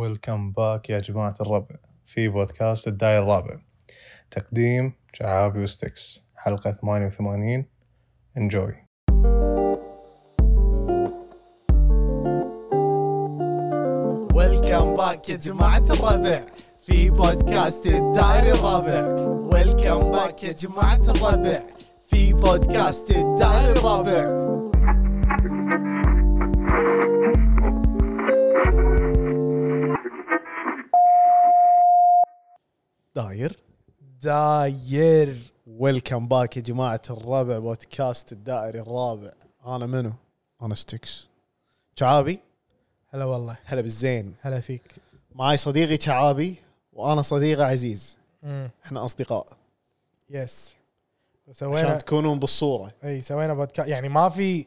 ويلكم باك يا جماعة الربع في بودكاست الداير الرابع تقديم شعابي وستكس حلقة 88 انجوي ويلكم باك يا جماعة الربع في بودكاست الدائري الرابع ويلكم باك يا جماعة الربع في بودكاست الدائري الرابع داير داير ويلكم باك يا جماعة الربع بودكاست الدائري الرابع انا منو؟ انا ستيكس شعابي هلا والله هلا بالزين هلا فيك معاي صديقي شعابي وانا صديقه عزيز امم احنا اصدقاء يس عشان سوينا تكونون بالصوره اي سوينا بودكاست يعني ما في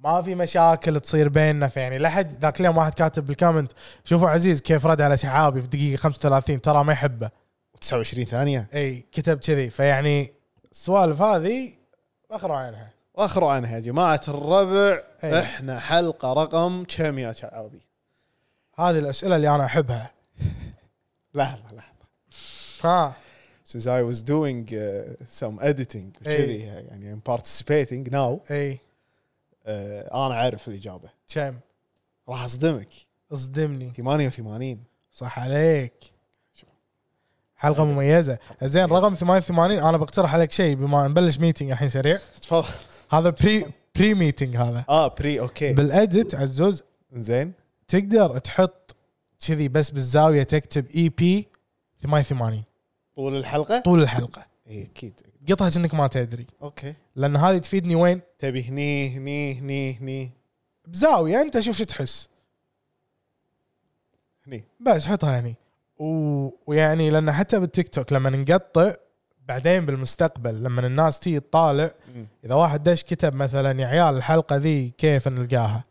ما في مشاكل تصير بيننا فيعني لحد ذاك اليوم واحد كاتب بالكومنت شوفوا عزيز كيف رد على شعابي في دقيقه 35 ترى ما يحبه 29 ثانيه اي كتب كذي فيعني السوالف هذه اقرا عنها واخروا عنها يا جماعه الربع أي. احنا حلقه رقم كم يا شعابي هذه الاسئله اللي انا احبها لحظه لحظه ها since I was doing uh, some editing أي. كذي يعني I'm participating now اي uh, انا عارف الاجابه كم راح اصدمك اصدمني 88 صح عليك شوف. حلقه مميزه زين رقم 88 انا بقترح عليك شيء بما نبلش ميتنج الحين سريع تفضل هذا بري بري ميتنج هذا اه بري اوكي بالاديت عزوز زين تقدر تحط كذي بس بالزاويه تكتب E اي بي 88 طول إيه، الحلقه طول الحلقه اي اكيد قطها كأنك ما تدري اوكي لان هذه تفيدني وين؟ تبي هني هني هني هني بزاويه انت شوف شو تحس هني بس حطها هني و... ويعني لان حتى بالتيك توك لما نقطع بعدين بالمستقبل لما الناس تيجي تطالع مم. اذا واحد دش كتب مثلا يا عيال الحلقه ذي كيف نلقاها؟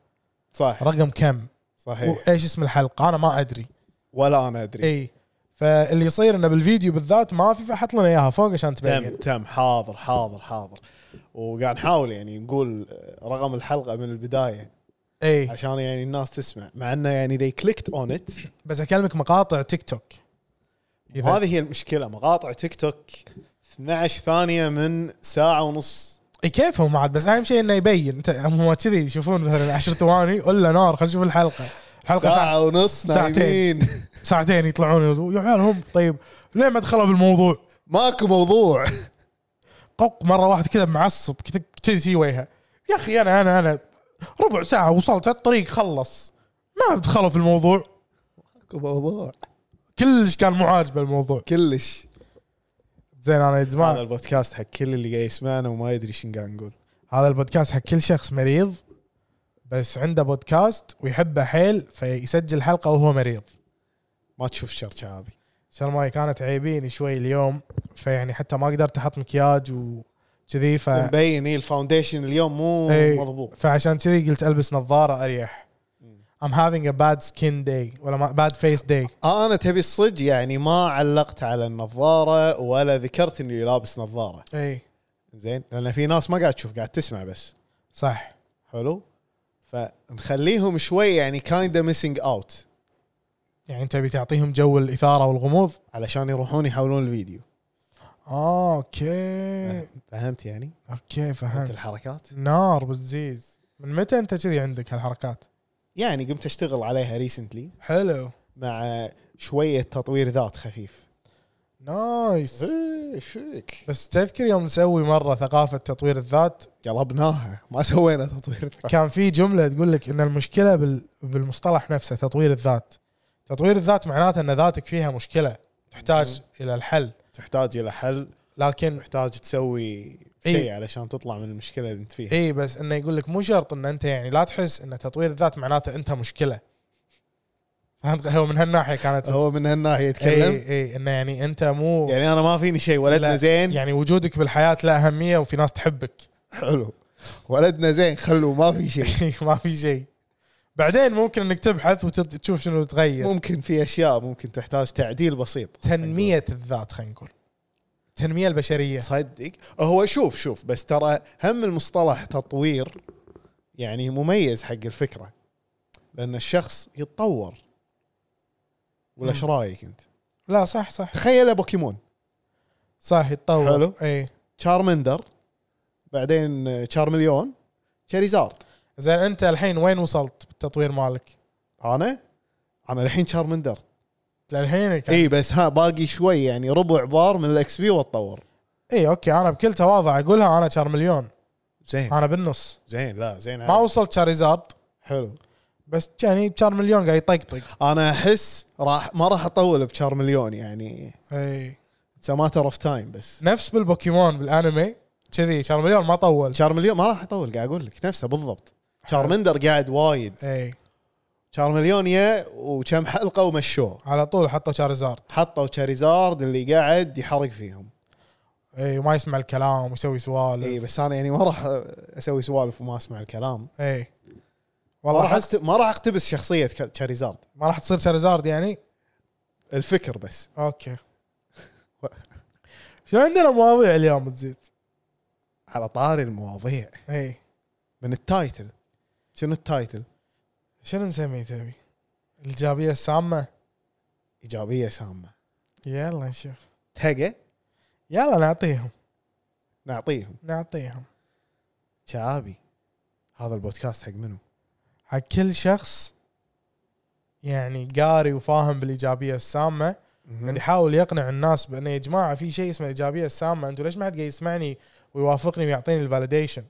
صح رقم كم؟ صحيح وايش اسم الحلقه؟ انا ما ادري ولا انا ادري اي فاللي يصير انه بالفيديو بالذات ما في فحط لنا اياها فوق عشان تم تبين تم حاضر حاضر حاضر وقاعد نحاول يعني نقول رقم الحلقه من البدايه اي عشان يعني الناس تسمع مع انه يعني they clicked on it بس اكلمك مقاطع تيك توك إذا- وهذه هي المشكله مقاطع تيك توك 12 ثانيه من ساعه ونص إي إيه، كيفهم عاد بس اهم شيء انه يبين انت هم كذي يشوفون مثلا 10 ثواني ولا نار خلينا نشوف الحلقه الحلقه ساعه ساعة. ونص ساعتين. نايمين ساعتين يطلعون يقولوا، يا عيال هم طيب ليه ما دخلوا بالموضوع؟ ماكو موضوع قق مره واحد كذا معصب كذا- كذي شي وجهه يا اخي انا انا انا ربع ساعه وصلت الطريق خلص ما دخلوا في الموضوع ماكو موضوع كلش كان مو عاجبه الموضوع كلش زين انا يا جماعه هذا البودكاست حق كل اللي قاعد يسمعنا وما يدري شنو قاعد نقول هذا البودكاست حق كل شخص مريض بس عنده بودكاست ويحبه حيل فيسجل حلقه وهو مريض ما تشوف شر شعابي عشان ما كانت عيبيني شوي اليوم فيعني حتى ما قدرت احط مكياج وكذي ف إيه. مبين إيه، الفاونديشن اليوم مو إي، مضبوط فعشان كذي قلت البس نظاره اريح I'm having a bad skin day ولا ما- bad face day انا تبي الصج يعني ما علقت على النظاره ولا ذكرت اني لابس نظاره اي زين لان في ناس ما قاعد تشوف قاعد تسمع بس صح حلو فنخليهم شوي يعني كايندا ميسنج اوت يعني انت بتعطيهم جو الاثاره والغموض علشان يروحون يحاولون الفيديو اه اوكي فهمت يعني اوكي فهمت فهمت الحركات نار بالزيز من متى انت كذي عندك هالحركات يعني قمت اشتغل عليها ريسنتلي حلو مع شويه تطوير ذات خفيف نايس إيه، شيك بس تذكر يوم نسوي مره ثقافه تطوير الذات قلبناها ما سوينا تطوير ذات كان في جمله تقول لك ان المشكله بال... بالمصطلح نفسه تطوير الذات تطوير الذات معناته ان ذاتك فيها مشكله تحتاج الى الحل تحتاج الى حل لكن تحتاج تسوي إيه. شيء علشان تطلع من المشكله اللي انت فيها اي بس انه يقول لك مو شرط ان انت يعني لا تحس ان تطوير الذات معناته انت مشكله فهمت هو من هالناحيه كانت هو من هالناحيه يتكلم اي اي انه يعني انت مو إيه. يعني انا ما فيني شيء ولدنا لا، زين يعني وجودك بالحياه له اهميه وفي ناس تحبك حلو ولدنا زين خلوه ما في شيء ما في شيء بعدين ممكن انك تبحث وتشوف شنو تغير ممكن في اشياء ممكن تحتاج تعديل بسيط تنميه الذات خلينا نقول التنميه البشريه تصدق هو شوف شوف بس ترى هم المصطلح تطوير يعني مميز حق الفكره لان الشخص يتطور ولا ايش رايك انت؟ لا صح صح تخيل بوكيمون صح إيه. يتطور حلو. اي تشارمندر بعدين تشارمليون شاريزارد زين انت الحين وين وصلت بالتطوير مالك؟ انا انا الحين تشارمندر للحين كان- اي إيه، بس ها باقي شوي يعني ربع بار من الاكس بي واتطور اي اوكي انا إيه، بكل تواضع اقولها انا شار مليون زين انا بالنص زين لا زين ما وصلت شاريزارد حلو بس يعني شار مليون قاعد يطقطق انا احس راح ما راح اطول بشارمليون يعني اي اتس ماتر اوف تايم بس إيه. نفس بالبوكيمون بالانمي كذي شار مليون ما طول شارمليون ما راح اطول قاعد اقول لك نفسه بالضبط شارمندر قاعد وايد اي شارمليون يا وكم حلقه ومشوه على طول حطوا شاريزارد حطوا تشاريزارد اللي قاعد يحرق فيهم اي إيه، وما يسمع الكلام ويسوي سوالف اي اي بس انا يعني ما راح اسوي سوالف وما اسمع الكلام ما اي إيه. والله راح حس أكت- ما راح اقتبس شخصيه ك- تشاريزارد ما راح تصير شاريزارد يعني الفكر بس اوكي شو عندنا مواضيع اليوم تزيد إيه. على طاري المواضيع اي من التايتل شنو التايتل؟ شنو نسميه تبي الايجابيه السامه ايجابيه سامه يلا نشوف تهقى يلا نعطيهم نعطيهم نعطيهم شعابي هذا البودكاست حق منو؟ حق كل شخص يعني قاري وفاهم بالايجابيه السامه قاعد يحاول يقنع الناس بانه يا جماعه في شيء اسمه الايجابيه السامه انتم ليش ما حد قاعد يسمعني ويوافقني ويعطيني الفاليديشن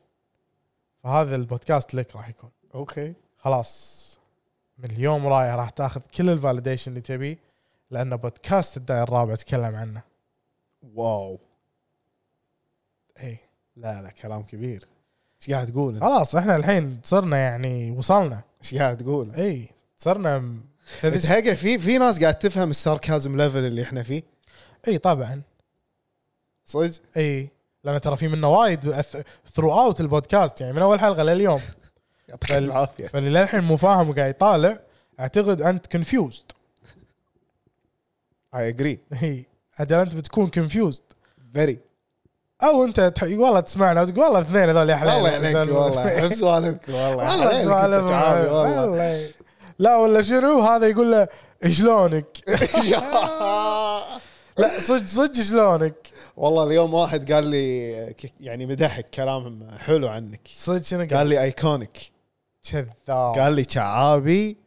فهذا البودكاست لك راح يكون اوكي خلاص من اليوم ورايح راح تاخذ كل الفاليديشن اللي تبيه لان بودكاست الداير الرابع تكلم عنه واو اي لا لا كلام كبير ايش قاعد تقول انت؟ خلاص احنا الحين صرنا يعني وصلنا ايش قاعد تقول؟ اي صرنا م- تدري- تهقى في في ناس قاعد تفهم الساركازم ليفل اللي احنا فيه اي طبعا صدق؟ اي لان ترى في منه وايد ثرو اوت البودكاست يعني من اول حلقه لليوم يعطيك فال- العافيه فاللي للحين مو فاهم وقاعد يطالع اعتقد انت كونفيوزد اي اجري اي اجل انت بتكون كونفيوزد فيري او انت تح... والله تسمعنا وتقول والله الاثنين هذول يا حلال والله عليك والله احب سؤالك والله والله سوالف تعابي والله والله لا ولا شنو هذا يقول له شلونك لا صدق صدق شلونك والله اليوم واحد قال لي ك- يعني مدحك كلام حلو عنك صدق شنو قال قال لي ايكونيك كذاب قال لي شعابي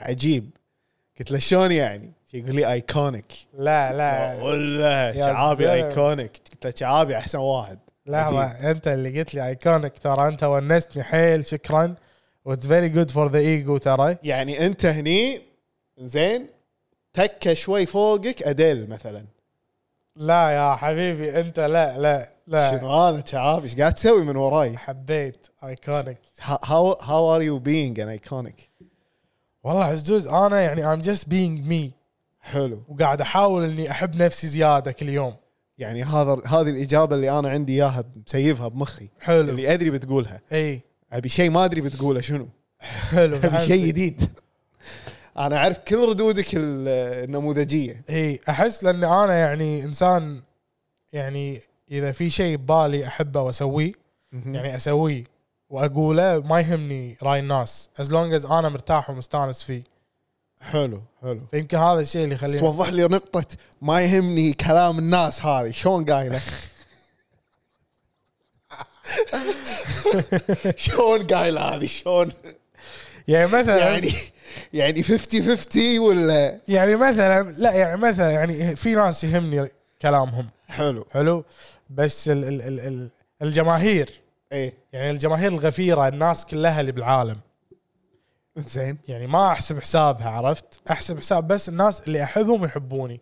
عجيب قلت له شلون يعني؟ يقول لي ايكونيك لا لا اقول له يا شعابي زلمة. ايكونيك قلت له شعابي احسن واحد لحظة انت اللي قلت لي ايكونيك ترى انت ونستني حيل شكرا واتس فيري جود فور ذا ايجو ترى يعني انت هني زين تكه شوي فوقك اديل مثلا لا يا حبيبي انت لا لا شنو لا هذا شعابي ايش قاعد تسوي من وراي؟ حبيت ايكونيك هاو هاو ار يو بينج ان ايكونيك والله عزوز انا يعني ام جاست بينج مي حلو وقاعد احاول اني احب نفسي زياده كل يوم يعني هذا هذه الاجابه اللي انا عندي اياها مسيفها بمخي حلو اللي ادري بتقولها اي ابي شيء ما ادري بتقوله شنو حلو ابي شيء جديد انا اعرف كل ردودك ال- النموذجيه اي احس لان انا يعني انسان يعني اذا في شيء ببالي احبه واسويه يعني اسويه واقوله ما يهمني راي الناس از لونج از انا مرتاح ومستانس فيه حلو حلو فيمكن هذا الشيء اللي يخليني توضح لي نقطة ما يهمني كلام الناس هذه شلون قايله؟ شلون قايله هذه شلون؟ يعني مثلا يعني يعني يعني 50 50 ولا يعني مثلا لا يعني مثلا يعني في ناس يهمني كلامهم حلو حلو بس ال ال ال ال الجماهير ايه يعني الجماهير الغفيره الناس كلها اللي بالعالم زين يعني ما احسب حسابها عرفت احسب حساب بس الناس اللي احبهم يحبوني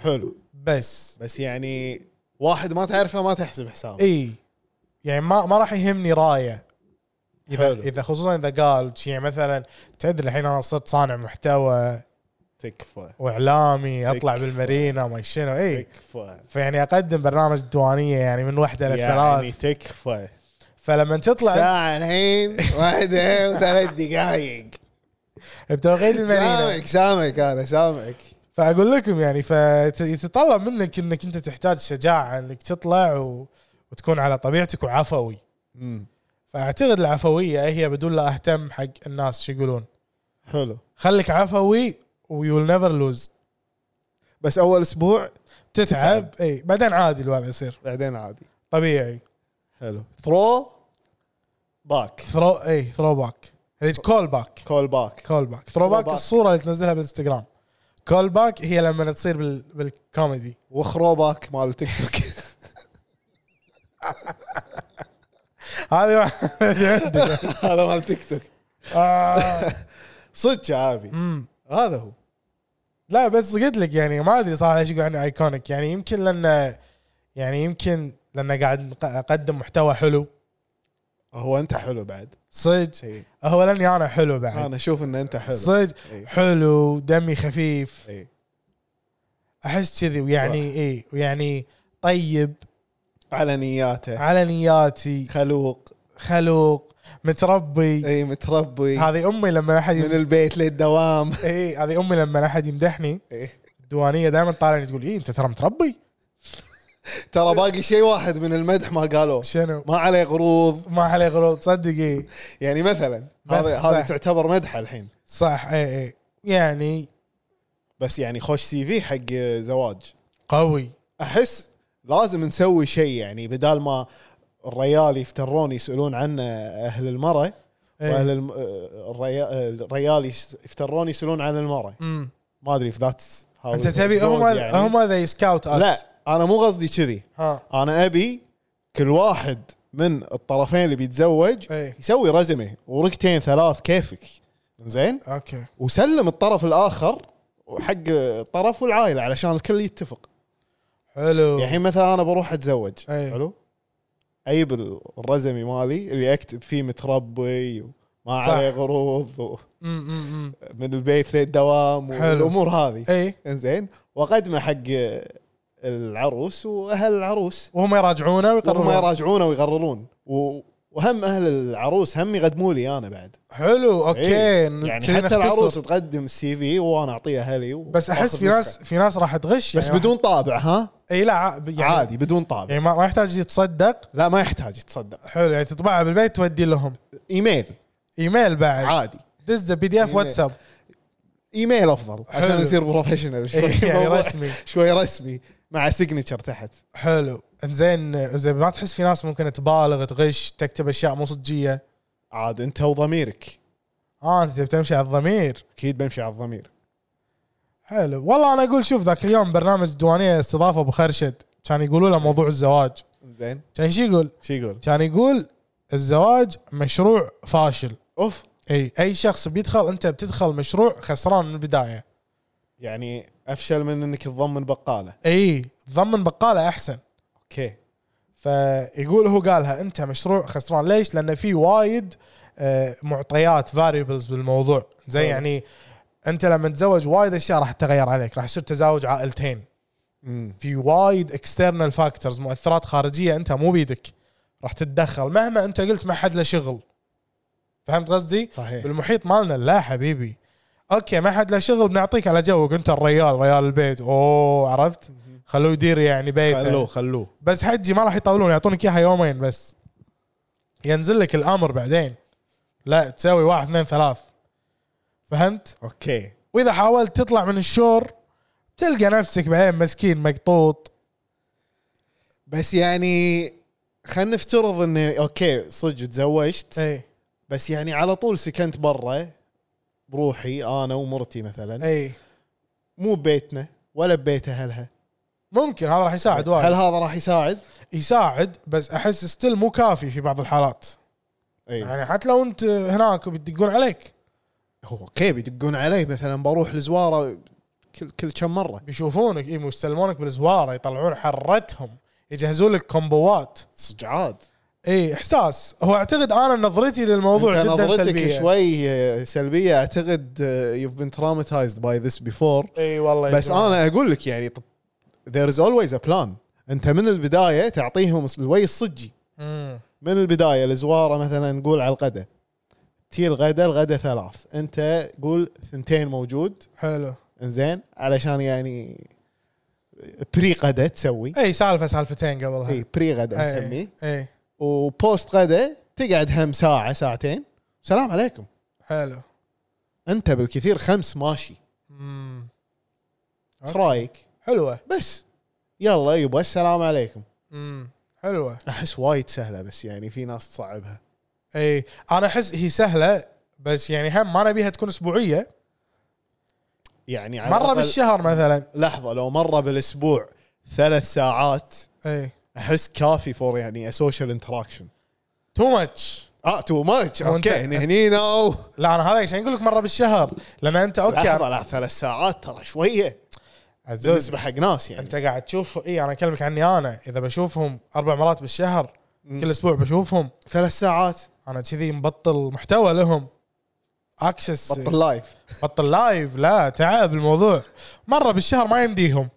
حلو بس بس يعني واحد ما تعرفه ما تحسب حسابه اي يعني ما ما راح يهمني رايه اذا حلو. اذا خصوصا اذا قال شي يعني مثلا تدري الحين انا صرت صانع محتوى تكفى واعلامي اطلع تكفى. بالمارينا ما شنو إيه. اي تكفى فيعني اقدم برنامج دوانيه يعني من وحده يعني للثلاث تكفى فلما تطلع ساعة الحين واحدة وثلاث دقايق أنت بتوقيت المارينا سامعك سامعك انا سامعك فاقول لكم يعني فيتطلب منك انك انت تحتاج شجاعه انك تطلع و... وتكون على طبيعتك وعفوي فاعتقد العفويه هي بدون لا اهتم حق الناس شو يقولون حلو خليك عفوي و- ويول نيفر لوز بس اول اسبوع تتعب اي بعدين عادي الوضع يصير بعدين عادي طبيعي حلو ثرو باك ثرو اي ثرو باك هيج كول باك كول باك كول باك ثرو باك Throwback. الصوره اللي تنزلها بالانستغرام كول باك هي لما تصير بال... بالكوميدي وخرو باك مال تيك توك هذه واحد عندك هذا مال تيك توك آه. صدق يا عابي أمم. هذا هو لا بس قلت لك يعني ما ادري صراحه ليش يقول عنه ايكونيك يعني يمكن لانه يعني يمكن لانه قاعد نق- اقدم محتوى حلو هو انت حلو بعد صدق شيء اولا يا انا حلو بعد انا اشوف ان انت حلو إيه. صدق إي. حلو دمي خفيف إي. احس كذي ويعني اي ويعني طيب على نياته على نياتي خلوق خلوق متربي اي متربي هذه امي لما احد إيه. من البيت للدوام اي هذه امي لما احد يمدحني إي. الديوانيه دائما طالعني تقول اي انت ترى متربي ترى باقي شيء واحد من المدح ما قالوه شنو ما عليه غروض ما عليه غلط إيه. تصدق اي يعني مثلا هذا صح. هذه تعتبر مدحه الحين صح اي اي يعني بس يعني خوش سي في حق زواج قوي احس لازم نسوي شيء يعني بدال ما الريال يفترون يسالون عنه اهل المراه واهل اي الم... الريا- الريال يس- يفترون يسالون عن المراه أمم. ما ادري في ذات انت تبي هم هم ذا سكاوت اس يعني. لا انا مو قصدي كذي ها انا ابي كل واحد من الطرفين اللي بيتزوج اي يسوي رزمه ورقتين ثلاث كيفك زين اوكي وسلم الطرف الاخر حق الطرف والعائله علشان الكل يتفق حلو يعني الحين مثلا انا بروح اتزوج أي. حلو اجيب الرزمي مالي اللي اكتب فيه متربي وما صح. عليه غروض ومن أمم، أمم، أمم. البيت للدوام حلو. والامور هذه اي انزين واقدمه حق العروس واهل العروس وهم يراجعونه وهم ويقررون يراجعونه ويقررون و... وهم اهل العروس هم يقدموا لي انا بعد حلو اوكي إيه. ن- يعني كذي حتى نختصر. العروس تقدم السي في وانا اعطيه اهلي و- بس احس وآخذ في نسخة. ناس في ناس راح تغش بس يعني بدون طابع ها اي لا ع- يعني عادي بدون طابع يعني ما ما يحتاج يتصدق لا ما يحتاج تصدق حلو يعني تطبعها بالبيت تودي لهم ايميل ايميل بعد عادي دز بي دي اف إيميل. واتساب ايميل افضل عشان حلو. يصير بروفيشنال شوي إيه، يعني الموضوع رسمي شوي رسمي مع سيجنتشر تحت حلو انزين زين ما تحس في ناس ممكن تبالغ تغش تكتب اشياء مو صجيه عاد انت وضميرك اه انت تبي تمشي على الضمير اكيد بمشي على الضمير حلو والله انا اقول شوف ذاك اليوم برنامج الديوانيه استضافه ابو خرشد كان يقولوا له موضوع الزواج زين كان شو يقول؟ شو يقول؟ كان يقول الزواج مشروع فاشل اوف اي اي شخص بيدخل انت بتدخل مشروع خسران من البدايه يعني افشل من انك تضمن بقاله اي تضمن بقاله احسن اوكي فيقول هو قالها انت مشروع خسران ليش؟ لان في وايد آه، معطيات فاريبلز بالموضوع زي حلو. يعني انت لما تتزوج وايد اشياء راح تتغير عليك راح يصير تزاوج عائلتين امم في وايد اكسترنال فاكتورز مؤثرات خارجيه انت مو بيدك راح تتدخل مهما انت قلت ما حد له شغل فهمت قصدي؟ صحيح بالمحيط مالنا لا حبيبي اوكي ما حد له شغل بنعطيك على جوك انت الريال ريال البيت اوه عرفت؟ خلوه يدير يعني بيته خلوه خلوه بس حجي ما راح يطولون يعطونك اياها يومين بس ينزل لك الامر بعدين لا تسوي واحد اثنين ثلاث فهمت؟ اوكي واذا حاولت تطلع من الشور تلقى نفسك بعدين مسكين مقطوط بس يعني خلينا نفترض انه اوكي صدق تزوجت اي بس يعني على طول سكنت برا بروحي انا ومرتي مثلا اي مو ببيتنا ولا ببيت اهلها ممكن هذا راح يساعد هل وايد هذا راح يساعد؟ يساعد بس احس ستيل مو كافي في بعض الحالات اي يعني حتى لو انت هناك وبيدقون عليك هو اوكي بيدقون علي مثلا بروح لزواره كل كل كم مره بيشوفونك اي يستلمونك بالزواره يطلعون حرتهم يجهزون لك كومبوات صدق عاد اي احساس هو اعتقد انا نظرتي للموضوع أنت جدا نظرتك سلبيه شوي شوي آه، سلبيه اعتقد يو بين تراماتايزد باي ذس بيفور اي والله بس يجوع. انا اقول لك يعني ذير از اولويز ا بلان انت من البدايه تعطيهم الوي الصجي مم. من البدايه الزواره مثلا نقول على الغداء تي الغداء الغداء ثلاث انت قول ثنتين موجود حلو انزين علشان يعني بري غدا تسوي اي سالفه سالفتين قبلها اي بري غدا إي، نسميه اي وبوست غدا تقعد هم ساعه ساعتين سلام عليكم حلو انت بالكثير خمس ماشي مم. مم. ايش رايك؟ حلوه بس يلا يبا السلام عليكم مم. حلوه احس وايد سهله بس يعني في ناس تصعبها اي انا احس هي سهله بس يعني هم ما نبيها تكون اسبوعيه يعني على مره الأقل- بالشهر مثلا لحظه لو مره بالاسبوع ثلاث ساعات اي احس كافي فور يعني سوشيال انتراكشن تو ماتش اه تو ماتش وأنت- اوكي هني هني أو- لا انا هذا عشان اقول لك مره بالشهر لان انت اوكي لحظه لا ثلاث ساعات ترى شويه عزوز بالنسبه حق ناس يعني انت قاعد تشوف اي انا اكلمك عني انا اذا بشوفهم اربع مرات بالشهر كل اسبوع بشوفهم ثلاث ساعات انا كذي مبطل محتوى لهم اكسس بطل لايف بطل لايف لا تعب الموضوع مره بالشهر ما يمديهم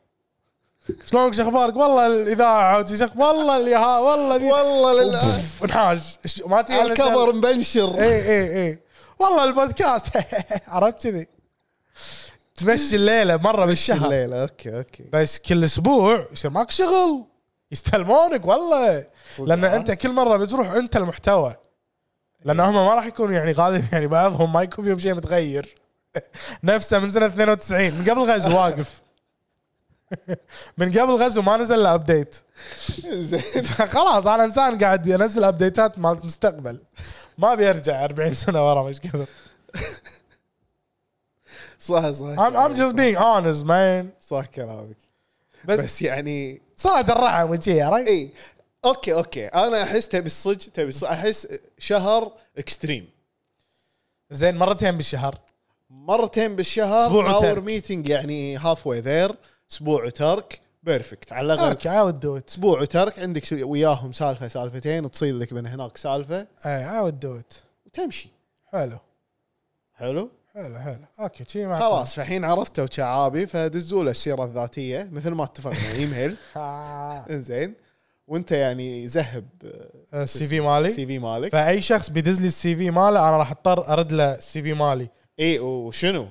شلونك شو اخبارك والله الاذاعه وش أخ- والله اللي ها والله دي- والله للأ- أوف، انحاج إيش- ما تي على إيه. الكفر مبنشر اي اي اي والله البودكاست عرفت كذي تمشي الليله مره بالشهر الليله اوكي اوكي بس كل اسبوع يصير ماك شغل يستلمونك والله صدق. لان انت كل مره بتروح انت المحتوى لان هم ما راح يكونوا يعني غالبا يعني بعضهم ما يكون فيهم شيء متغير نفسه من سنه 92 من قبل غزو واقف من قبل غزو ما نزل له ابديت زين. خلاص انا انسان قاعد ينزل ابديتات مالت مستقبل ما بيرجع 40 سنه ورا مشكله صح صح I'm, I'm just being honest man صح كلامك بس, بس- بس يعني إيه. صلاه الرحم وشي عرفت؟ اي اوكي اوكي انا احس تبي الصج تبي الصج احس شهر اكستريم زين مرتين بالشهر مرتين بالشهر أسبوع اور وترك. ميتنج يعني هاف واي ذير اسبوع وترك بيرفكت على الاقل اوكي اي would do it اسبوع وترك عندك س- وياهم سالفه سالفتين تصير لك من هناك سالفه اي would do it وتمشي حلو حلو حلو حلو اوكي شي ما خلاص فالحين عرفتوا شعابي فدزوا له السيره الذاتيه مثل ما اتفقنا ايميل آه، انزين وانت يعني زهب السي في مالي السي في مالك فاي شخص بيدز لي السي في ماله انا راح اضطر ارد له السي في مالي اي إيه، وشنو؟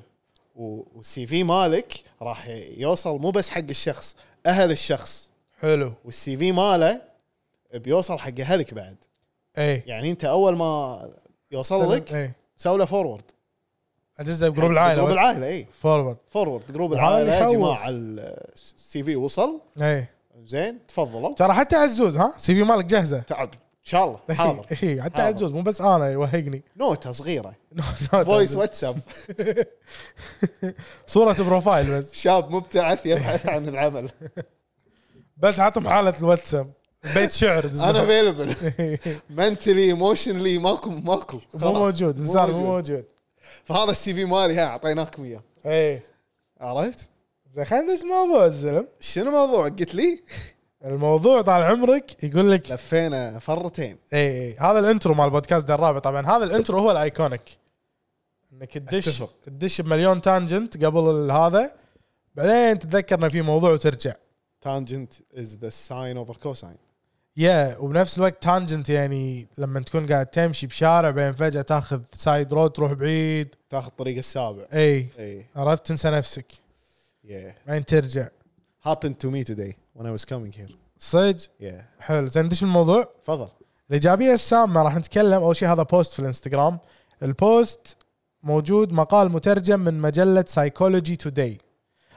و- والسي في مالك راح يوصل مو بس حق الشخص اهل الشخص حلو والسي في ماله بيوصل حق اهلك بعد اي يعني انت اول ما يوصل لك اي سوي له فورورد ادزه إيه. بجروب العائله جروب بس. العائله اي فورورد فورورد جروب وهذا العائله يا يخوف. جماعه السي في وصل اي زين تفضلوا إيه. ترى حتى عزوز ها سي في مالك جاهزه تعال ان شاء الله حاضر اي حتى حاضر. عزوز مو بس انا يوهقني نوته صغيره نو- نو- فويس واتساب صوره بروفايل بس شاب مبتعث يبحث عن العمل بس عطهم حاله الواتساب بيت شعر دز انا لهم. افيلبل منتلي ايموشنلي ماكو ماكو مو خلاص. موجود انسان مو موجود فهذا السي في مالي ها اعطيناكم اياه اي عرفت؟ زين خلينا ندش الموضوع الزلم شنو الموضوع قلت لي؟ الموضوع طال عمرك يقول لك لفينا فرتين اي اي إيه، هذا الانترو مال البودكاست الرابع طبعا هذا الانترو هو الايكونيك انك تدش أتفق. تدش بمليون تانجنت قبل ال- هذا بعدين تتذكر انه في موضوع وترجع تانجنت از ذا ساين اوفر كوساين يا وبنفس الوقت تانجنت يعني لما تكون قاعد تمشي بشارع بعدين فجاه تاخذ سايد رود تروح بعيد تاخذ الطريق السابع اي اي عرفت تنسى نفسك yeah بعدين ترجع happened to me today when I was coming here صدق yeah حلو زين ندش بالموضوع تفضل الايجابيه السامه راح نتكلم اول شيء هذا بوست في الانستغرام البوست موجود مقال مترجم من مجله سايكولوجي توداي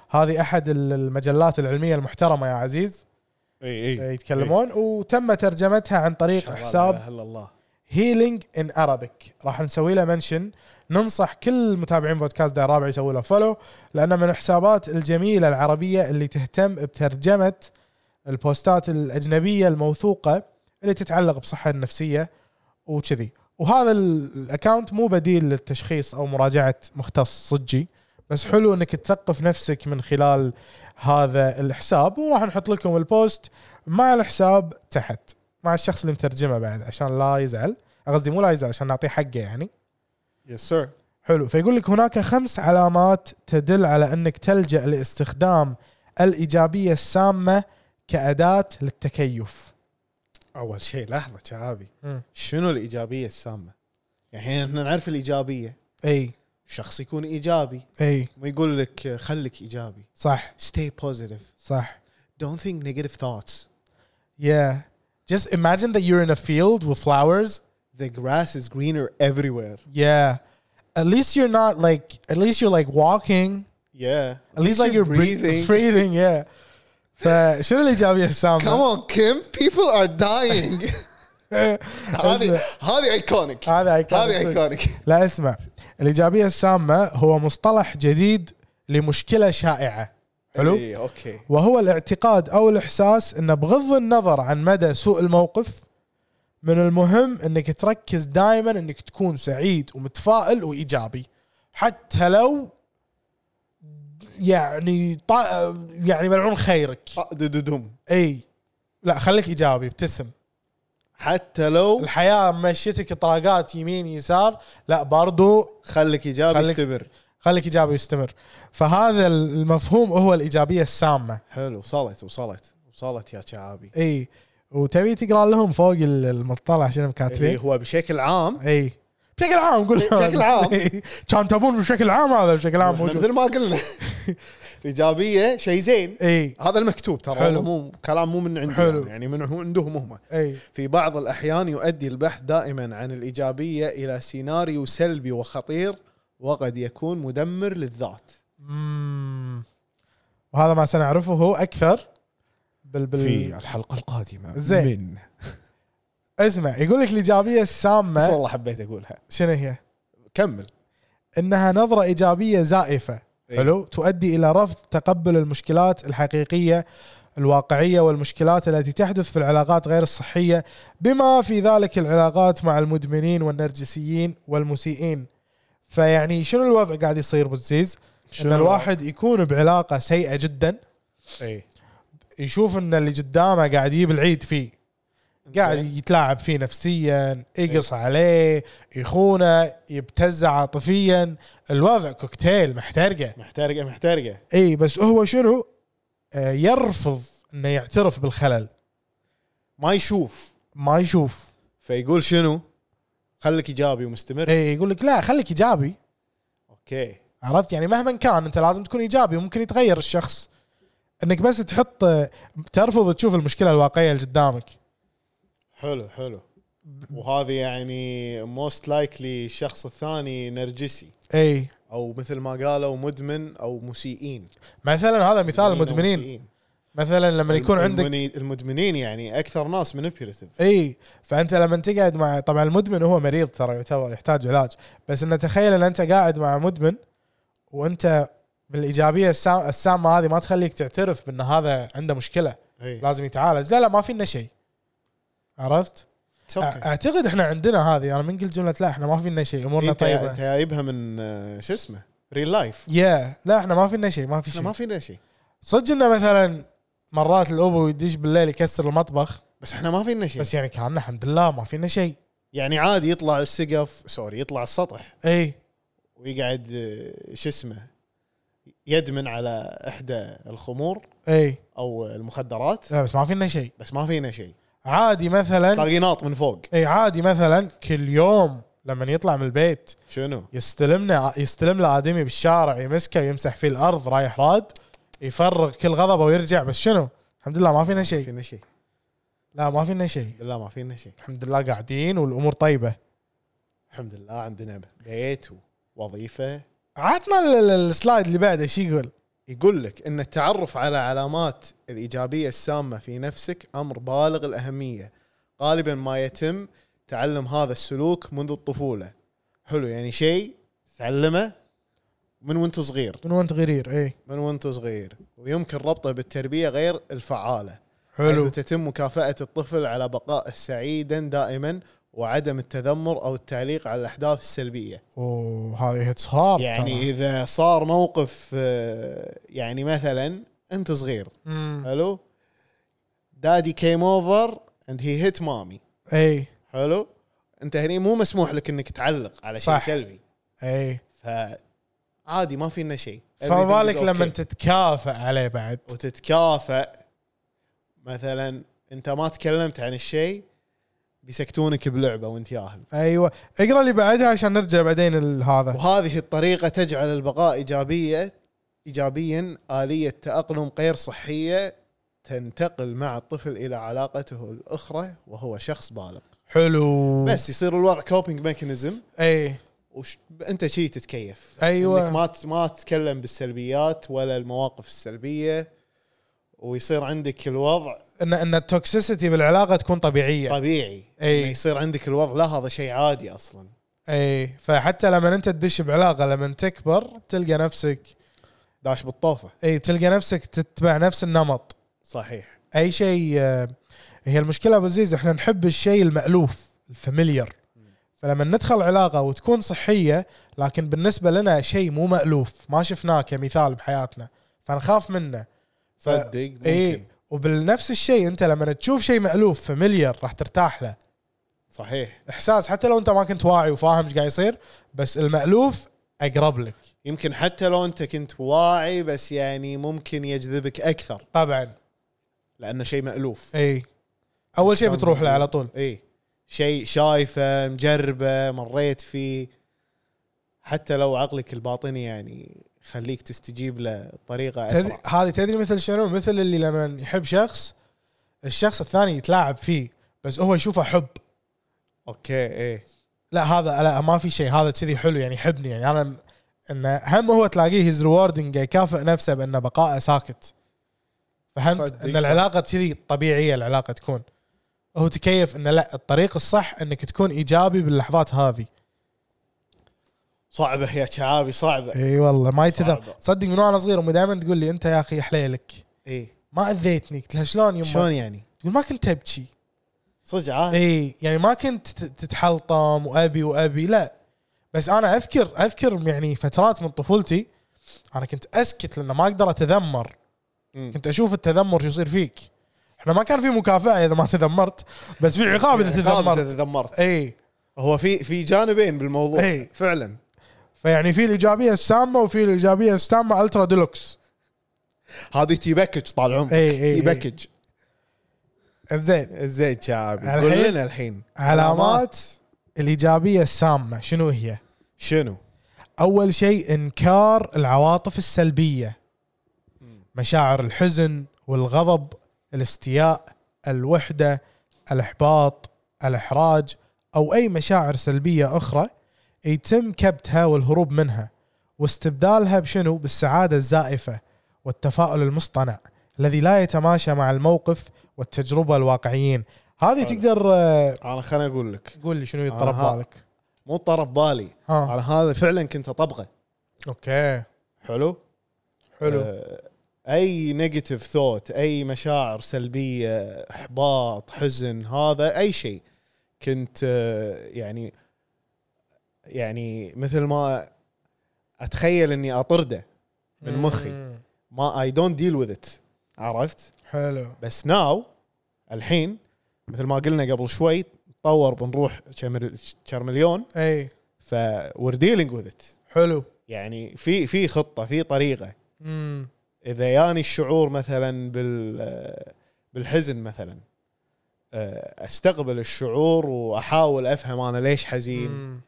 هذه احد ال- المجلات العلميه المحترمه يا عزيز اي يتكلمون وتم ترجمتها عن طريق حساب هلا إيه. الله هيلينج ان ارابيك راح نسوي له منشن ننصح كل متابعين بودكاست داير رابع يسوي له فولو لانه من الحسابات الجميله العربيه اللي تهتم بترجمه البوستات الاجنبيه الموثوقه اللي تتعلق بصحه النفسيه وكذي وهذا ال- الاكاونت مو بديل للتشخيص او مراجعه مختص صجي بس حلو انك تثقف نفسك من خلال هذا الحساب وراح نحط لكم البوست مع الحساب تحت مع الشخص اللي مترجمه بعد عشان لا يزعل قصدي مو لا يزعل عشان نعطيه حقه يعني يس سير حلو فيقول لك هناك خمس علامات تدل على انك تلجا لاستخدام الايجابيه السامه كاداه للتكيف اول شيء لحظه شعابي مم. شنو الايجابيه السامه؟ يعني الحين احنا نعرف الايجابيه اي شخص يكون ايجابي اي ما يقول لك آه، خليك ايجابي صح stay positive صح don't think negative thoughts Yeah. Just imagine that you're in a field with flowers. the grass is greener everywhere Yeah. At least you're not like, at least you're like walking Yeah. At least like you're breathing. breathing. Breathing, yeah. فشنو الايجابيه Come السامه؟ on, Kim. People are dying. هذه هذه ايكونيك هذا هذه iconic. ايكونيك لا اسمع الايجابيه السامه هو مصطلح جديد لمشكله شائعه حلو؟ إيه، اوكي وهو الاعتقاد او الاحساس ان بغض النظر عن مدى سوء الموقف من المهم انك تركز دائما انك تكون سعيد ومتفائل وايجابي حتى لو يعني طا... يعني ملعون خيرك آه، دددم اي لا خليك ايجابي ابتسم حتى لو الحياه مشيتك طراقات يمين يسار لا برضو خليك ايجابي خليك- استمر خليك ايجابي ويستمر فهذا المفهوم هو الايجابيه السامه حلو وصلت وصلت وصلت يا شعابي اي وتبي تقرا لهم فوق ال- المطلع شنو اللي إيه، مكاتبين هو بشكل عام اي بشكل عام قول بشكل عام. إي. كان تبون بشكل عام هذا بشكل عام إحنا موجود مثل ما قلنا ايجابيه شيء زين اي هذا المكتوب ترى حلو. والله مو كلام مو من عندنا حلو. يعني من هو- عندهم هم اي في بعض الأحيان يؤدي البحث دائما عن الإيجابية إلى سيناريو سلبي وخطير وقد يكون مدمر للذات أمم. وهذا ما سنعرفه اكثر بال بال الحلقة القادمة زين. اسمع يقول لك الايجابيه بس السامه والله حبيت أقولها شنو هي؟ كمل انها نظره ايجابيه زائفه إيه. حلو تؤدي الى رفض تقبل المشكلات الحقيقيه الواقعيه والمشكلات التي تحدث في العلاقات غير الصحيه بما في ذلك العلاقات مع المدمنين والنرجسيين والمسيئين فيعني شنو الوضع قاعد يصير بالزيز ان شنو الواحد يكون بعلاقه سيئه جدا أي. إيه. يشوف ان اللي قدامه قاعد يجيب العيد فيه قاعد يتلاعب فيه نفسيا يقص عليه يخونه يبتز عاطفيا الوضع كوكتيل محترقه محترقه محترقه اي إيه، بس هو شنو آه، يرفض انه يعترف بالخلل ما يشوف ما يشوف فيقول شنو خليك ايجابي ومستمر اي إيه، يقول لك لا خليك ايجابي أوكي عرفت يعني مهما كان انت لازم تكون ايجابي وممكن يتغير الشخص انك بس تحط آه، ترفض تشوف المشكله الواقعيه اللي قدامك حلو حلو وهذه يعني موست لايكلي الشخص الثاني نرجسي اي أو مثل ما قالوا مدمن أو مسيئين مثلا هذا مثال المدمنين مسيئين. مثلا لما يكون عندك المني- المدمنين يعني أكثر ناس منبيوليتيف اي فانت لما تقعد مع طبعا المدمن هو مريض ترى يعتبر يحتاج علاج بس انه تخيل ان انت قاعد مع مدمن وانت بالايجابيه السا- السامه هذه ما تخليك تعترف بان هذا عنده مشكله إيه. لازم يتعالج لا لا ما فينا شيء عرفت؟ أ- اعتقد احنا عندنا هذه انا من قلت جمله لا احنا ما فينا شيء امورنا انت طيبه انت جايبها إيه، من آه، شو اسمه ريل لايف يا لا احنا ما فينا شيء ما في احنا ما شيء فينا شيء صدق انه مثلا مرات الابو يدش بالليل يكسر المطبخ بس احنا ما فينا شيء بس يعني كان الحمد لله ما فينا شيء يعني عادي يطلع السقف سوري يطلع السطح اي ويقعد آه، شو اسمه يدمن على احدى الخمور اي او المخدرات لا بس ما فينا شيء بس ما فينا شيء عادي مثلا تلاقيه ناط من فوق اي عادي مثلا كل يوم لما يطلع من البيت شنو؟ يستلمنا يستلم له ادمي بالشارع يمسكه يمسح فيه الارض رايح راد يفرغ كل غضبه ويرجع بس شنو؟ الحمد لله ما فينا ما شيء فينا شيء لا ما فينا شيء لا ما فينا شيء الحمد لله قاعدين والامور طيبه الحمد لله عندنا بيت ووظيفه عطنا ال- ال- السلايد اللي بعده ايش يقول؟ يقول لك ان التعرف على علامات الايجابيه السامه في نفسك امر بالغ الاهميه غالبا ما يتم تعلم هذا السلوك منذ الطفوله حلو يعني شيء تعلمه من وانت صغير من وانت غرير إيه. اي من وانت صغير ويمكن ربطه بالتربيه غير الفعاله حلو حيث تتم مكافأة الطفل على بقائه سعيدا دائما وعدم التذمر او التعليق على الاحداث السلبيه وهذه هيتس هارد يعني اذا صار موقف آه، يعني مثلا انت صغير حلو دادي كيم اوفر اند هي هيت مامي اي حلو انت هني مو مسموح لك انك تعلق على شيء صح. سلبي اي فعادي ما فينا شيء إيه. فما بالك Everything is لما okay. تتكافئ عليه بعد وتتكافئ مثلا انت ما تكلمت عن الشيء بيسكتونك بلعبه وانت ياهل ايوه اقرا اللي بعدها عشان نرجع بعدين ال- هذا وهذه الطريقه تجعل البقاء ايجابيه ايجابيا اليه تاقلم غير صحيه تنتقل مع الطفل الى علاقته الاخرى وهو شخص بالغ حلو بس يصير الوضع كوبينج ميكانيزم اي وش انت شي تتكيف أيوة. انك ما ت- ما تتكلم بالسلبيات ولا المواقف السلبيه ويصير عندك الوضع ان ان التوكسيسيتي بالعلاقه تكون طبيعيه طبيعي أي. إنه يصير عندك الوضع لا هذا شيء عادي اصلا اي فحتى لما انت تدش بعلاقه لما تكبر تلقى نفسك داش بالطوفه اي بتلقى نفسك تتبع نفس النمط صحيح اي شيء آه، هي المشكله ابو عزيز احنا نحب الشيء المالوف الفاميليار فلما ندخل علاقه وتكون صحيه لكن بالنسبه لنا شيء مو مالوف ما شفناه كمثال بحياتنا فنخاف منه ف- صدق ممكن اي وبالنفس الشيء انت لما تشوف شيء مالوف فاميليار راح ترتاح له صحيح احساس حتى لو انت ما كنت واعي وفاهم ايش قاعد يصير بس المالوف اقرب لك يمكن حتى لو انت كنت واعي بس يعني ممكن يجذبك اكثر طبعا لانه شيء مالوف اي اول شيء بتروح له على طول اي شيء شايفه مجربه مريت فيه حتى لو عقلك الباطني يعني خليك تستجيب له بطريقه تدري اسرع هذه تدري مثل شنو مثل اللي لما يحب شخص الشخص الثاني يتلاعب فيه بس هو يشوفه حب اوكي ايه لا هذا لا ما في شيء هذا كذي حلو يعني يحبني يعني انا انه هم هو تلاقيه هيز ريوردنج يكافئ نفسه بانه بقائه ساكت فهمت صدق ان صح. العلاقه كذي طبيعيه العلاقه تكون هو تكيف انه لا الطريق الصح انك تكون ايجابي باللحظات هذه صعبه يا شعابي صعبه اي والله ما يتذا صعبة. صدق من وانا صغير امي دائما تقول لي انت يا اخي يا حليلك ايه ما اذيتني قلت لها شلون يما شلون يعني إيه. تقول ما كنت ابكي صدق عادي اي يعني ما كنت تت- تتحلطم وابي وابي لا بس انا اذكر اذكر يعني فترات من طفولتي انا كنت اسكت لان ما اقدر اتذمر مم. كنت اشوف التذمر شو يصير فيك احنا ما كان في مكافاه اذا ما تذمرت بس في عقاب اذا تذمرت إيه. تذمرت اي هو في في جانبين بالموضوع إي. فعلا فيعني في الايجابيه السامه وفي الايجابيه السامه الترا ديلوكس هذه تي باكج طال عمرك إي، إي، إي. تي باكج زين زين شعابي الحين؟ قول لنا الحين علامات الايجابيه السامه شنو هي؟ شنو؟ اول شيء انكار العواطف السلبيه مشاعر الحزن والغضب الاستياء الوحده الاحباط الاحراج او اي مشاعر سلبيه اخرى يتم كبتها والهروب منها واستبدالها بشنو بالسعاده الزائفه والتفاؤل المصطنع الذي لا يتماشى مع الموقف والتجربه الواقعيين هذه تقدر آه، انا خليني اقول لك قول لي شنو يضطرب آها. بالك مو طرف بالي ها انا هذا فعلا كنت اطبقه اوكي حلو حلو آه، اي نيجاتيف ثوت اي مشاعر سلبيه احباط حزن هذا اي شيء كنت آه، يعني يعني مثل ما اتخيل اني اطرده من مخي مم. ما اي دونت ديل وذ ات عرفت حلو بس ناو الحين مثل ما قلنا قبل شوي تطور بنروح شمر- شرمليون اي ف we're dealing with it حلو يعني في في خطه في طريقه امم اذا ياني الشعور مثلا بال بالحزن مثلا آه، استقبل الشعور واحاول افهم انا ليش حزين أمم.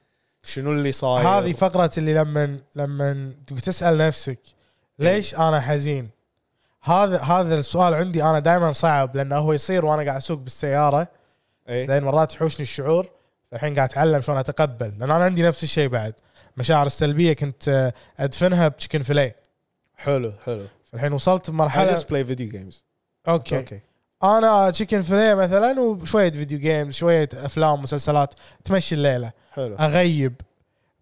شنو اللي صاير هذه فقره اللي لما لما تسال نفسك ليش انا حزين هذا هذا السؤال عندي انا دائما صعب لانه هو يصير وانا قاعد اسوق بالسياره إيه؟ زين مرات يحوشني الشعور فالحين قاعد اتعلم شلون اتقبل لان انا عندي نفس الشيء بعد مشاعر السلبيه كنت آه، ادفنها بتشكن فيليه حلو حلو فالحين وصلت I بمرحله just play video games اوكي, أوكي. اوكي انا تشيكن فيليه مثلا وشويه فيديو جيمز شويه افلام مسلسلات تمشي الليله حلو اغيب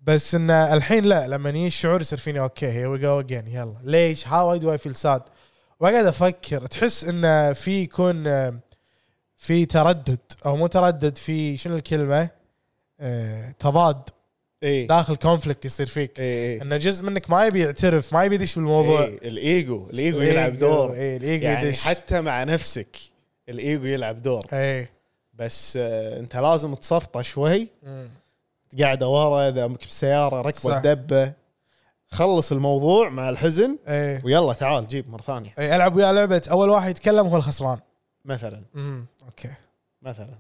بس ان الحين لا لما يجي الشعور يصير فيني اوكي هير وي جو اجين يلا ليش هاو دو اي فيل ساد واقعد افكر تحس ان في يكون آه، في تردد او مو تردد في شنو الكلمه آه، تضاد اي داخل كونفليكت يصير فيك اي ان جزء منك ما يبي يعترف ما يبي يدش بالموضوع إيه، الايجو الايجو يلعب الإيجو، دور اي الايجو يعني يدش حتى مع نفسك الايجو يلعب دور اي بس آه، انت لازم تصفطه شوي مم. قاعده ورا اذا بالسياره صح. ركبه دبه خلص الموضوع مع الحزن اي ويلا تعال جيب مره ثانيه أي، العب إيه. ويا لعبه اول واحد يتكلم هو الخسران مثلا مم. اوكي مثلا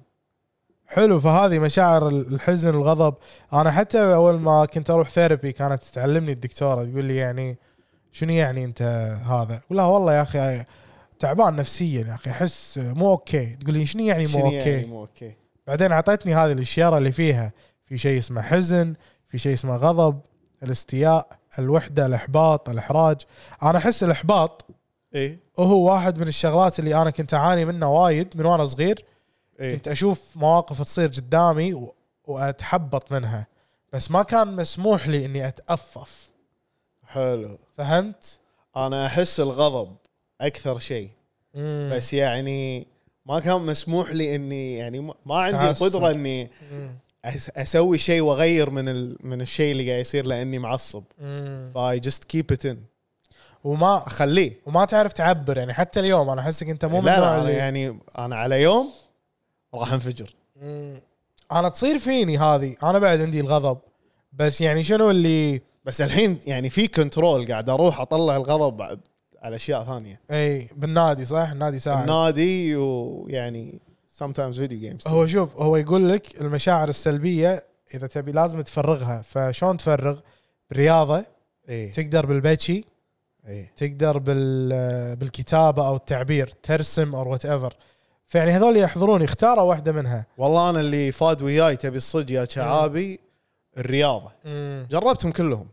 حلو فهذه مشاعر الحزن الغضب انا حتى اول ما كنت اروح ثيرابي كانت تعلمني الدكتوره تقول لي يعني شنو يعني انت هذا اقول لها والله يا اخي تعبان نفسيا يا اخي احس مو اوكي تقول لي شنو يعني مو شنو اوكي مو اوكي بعدين اعطتني هذه الاشياء اللي فيها في شيء اسمه حزن في شيء اسمه غضب الاستياء الوحده الاحباط الاحراج انا احس الاحباط إيه، اي هو واحد من الشغلات اللي انا كنت اعاني منه وايد من وانا صغير إيه. كنت اشوف مواقف تصير قدامي و- واتحبط منها بس ما كان مسموح لي اني اتأفف حلو فهمت؟ انا احس الغضب اكثر شيء بس بس يعني ما كان مسموح لي اني يعني ما- ما عندي تعصب. القدره اني أس- اسوي شيء واغير من ال... من الشيء اللي قاعد يصير لاني معصب فاي جست كيب ات ان وما اخليه وما تعرف تعبر يعني حتى اليوم انا احسك انت لا مو من النوع لا أنا اللي- يعني انا على يوم راح انفجر مم. انا تصير فيني هذه انا بعد عندي الغضب بس يعني شنو اللي بس الحين يعني في كنترول قاعد اروح اطلع الغضب على- على اشياء ثانيه اي إيه، بالنادي صح النادي ساعد النادي ويعني sometimes video games هو شوف هو يقول لك المشاعر السلبيه اذا تبي لازم تفرغها فشلون تفرغ بالرياضه اي تقدر بالبكي اي تقدر بال بالكتابه او التعبير ترسم او وات ايفر فيعني هذول يحضرون اختاروا واحده منها والله انا اللي فاد وياي تبي الصدق يا شعابي الرياضه جربتهم كلهم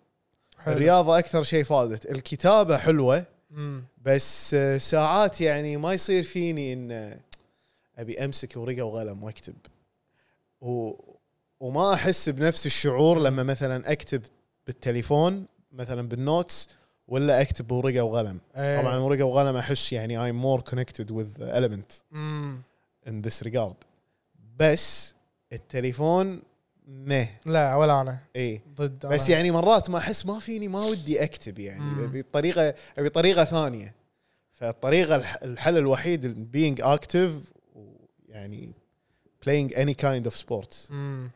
حلو. الرياضه اكثر شيء فادت الكتابه حلوه مم. بس آه، ساعات يعني ما يصير فيني ان آه، ابي امسك ورقه وقلم واكتب و... وما احس بنفس الشعور لما مثلا اكتب بالتليفون مثلا بالنوتس ولا اكتب بورقه وقلم إيه. طبعا ورقه وقلم احس يعني I'm more connected with the element مم. in this regard بس التليفون مه لا ولا انا اي ضد بس أنا. يعني مرات ما احس ما فيني ما ودي اكتب يعني مم. ابي طريقه ابي طريقه ثانيه فالطريقه الح- الحل الوحيد being active يعني playing any kind of sports مم.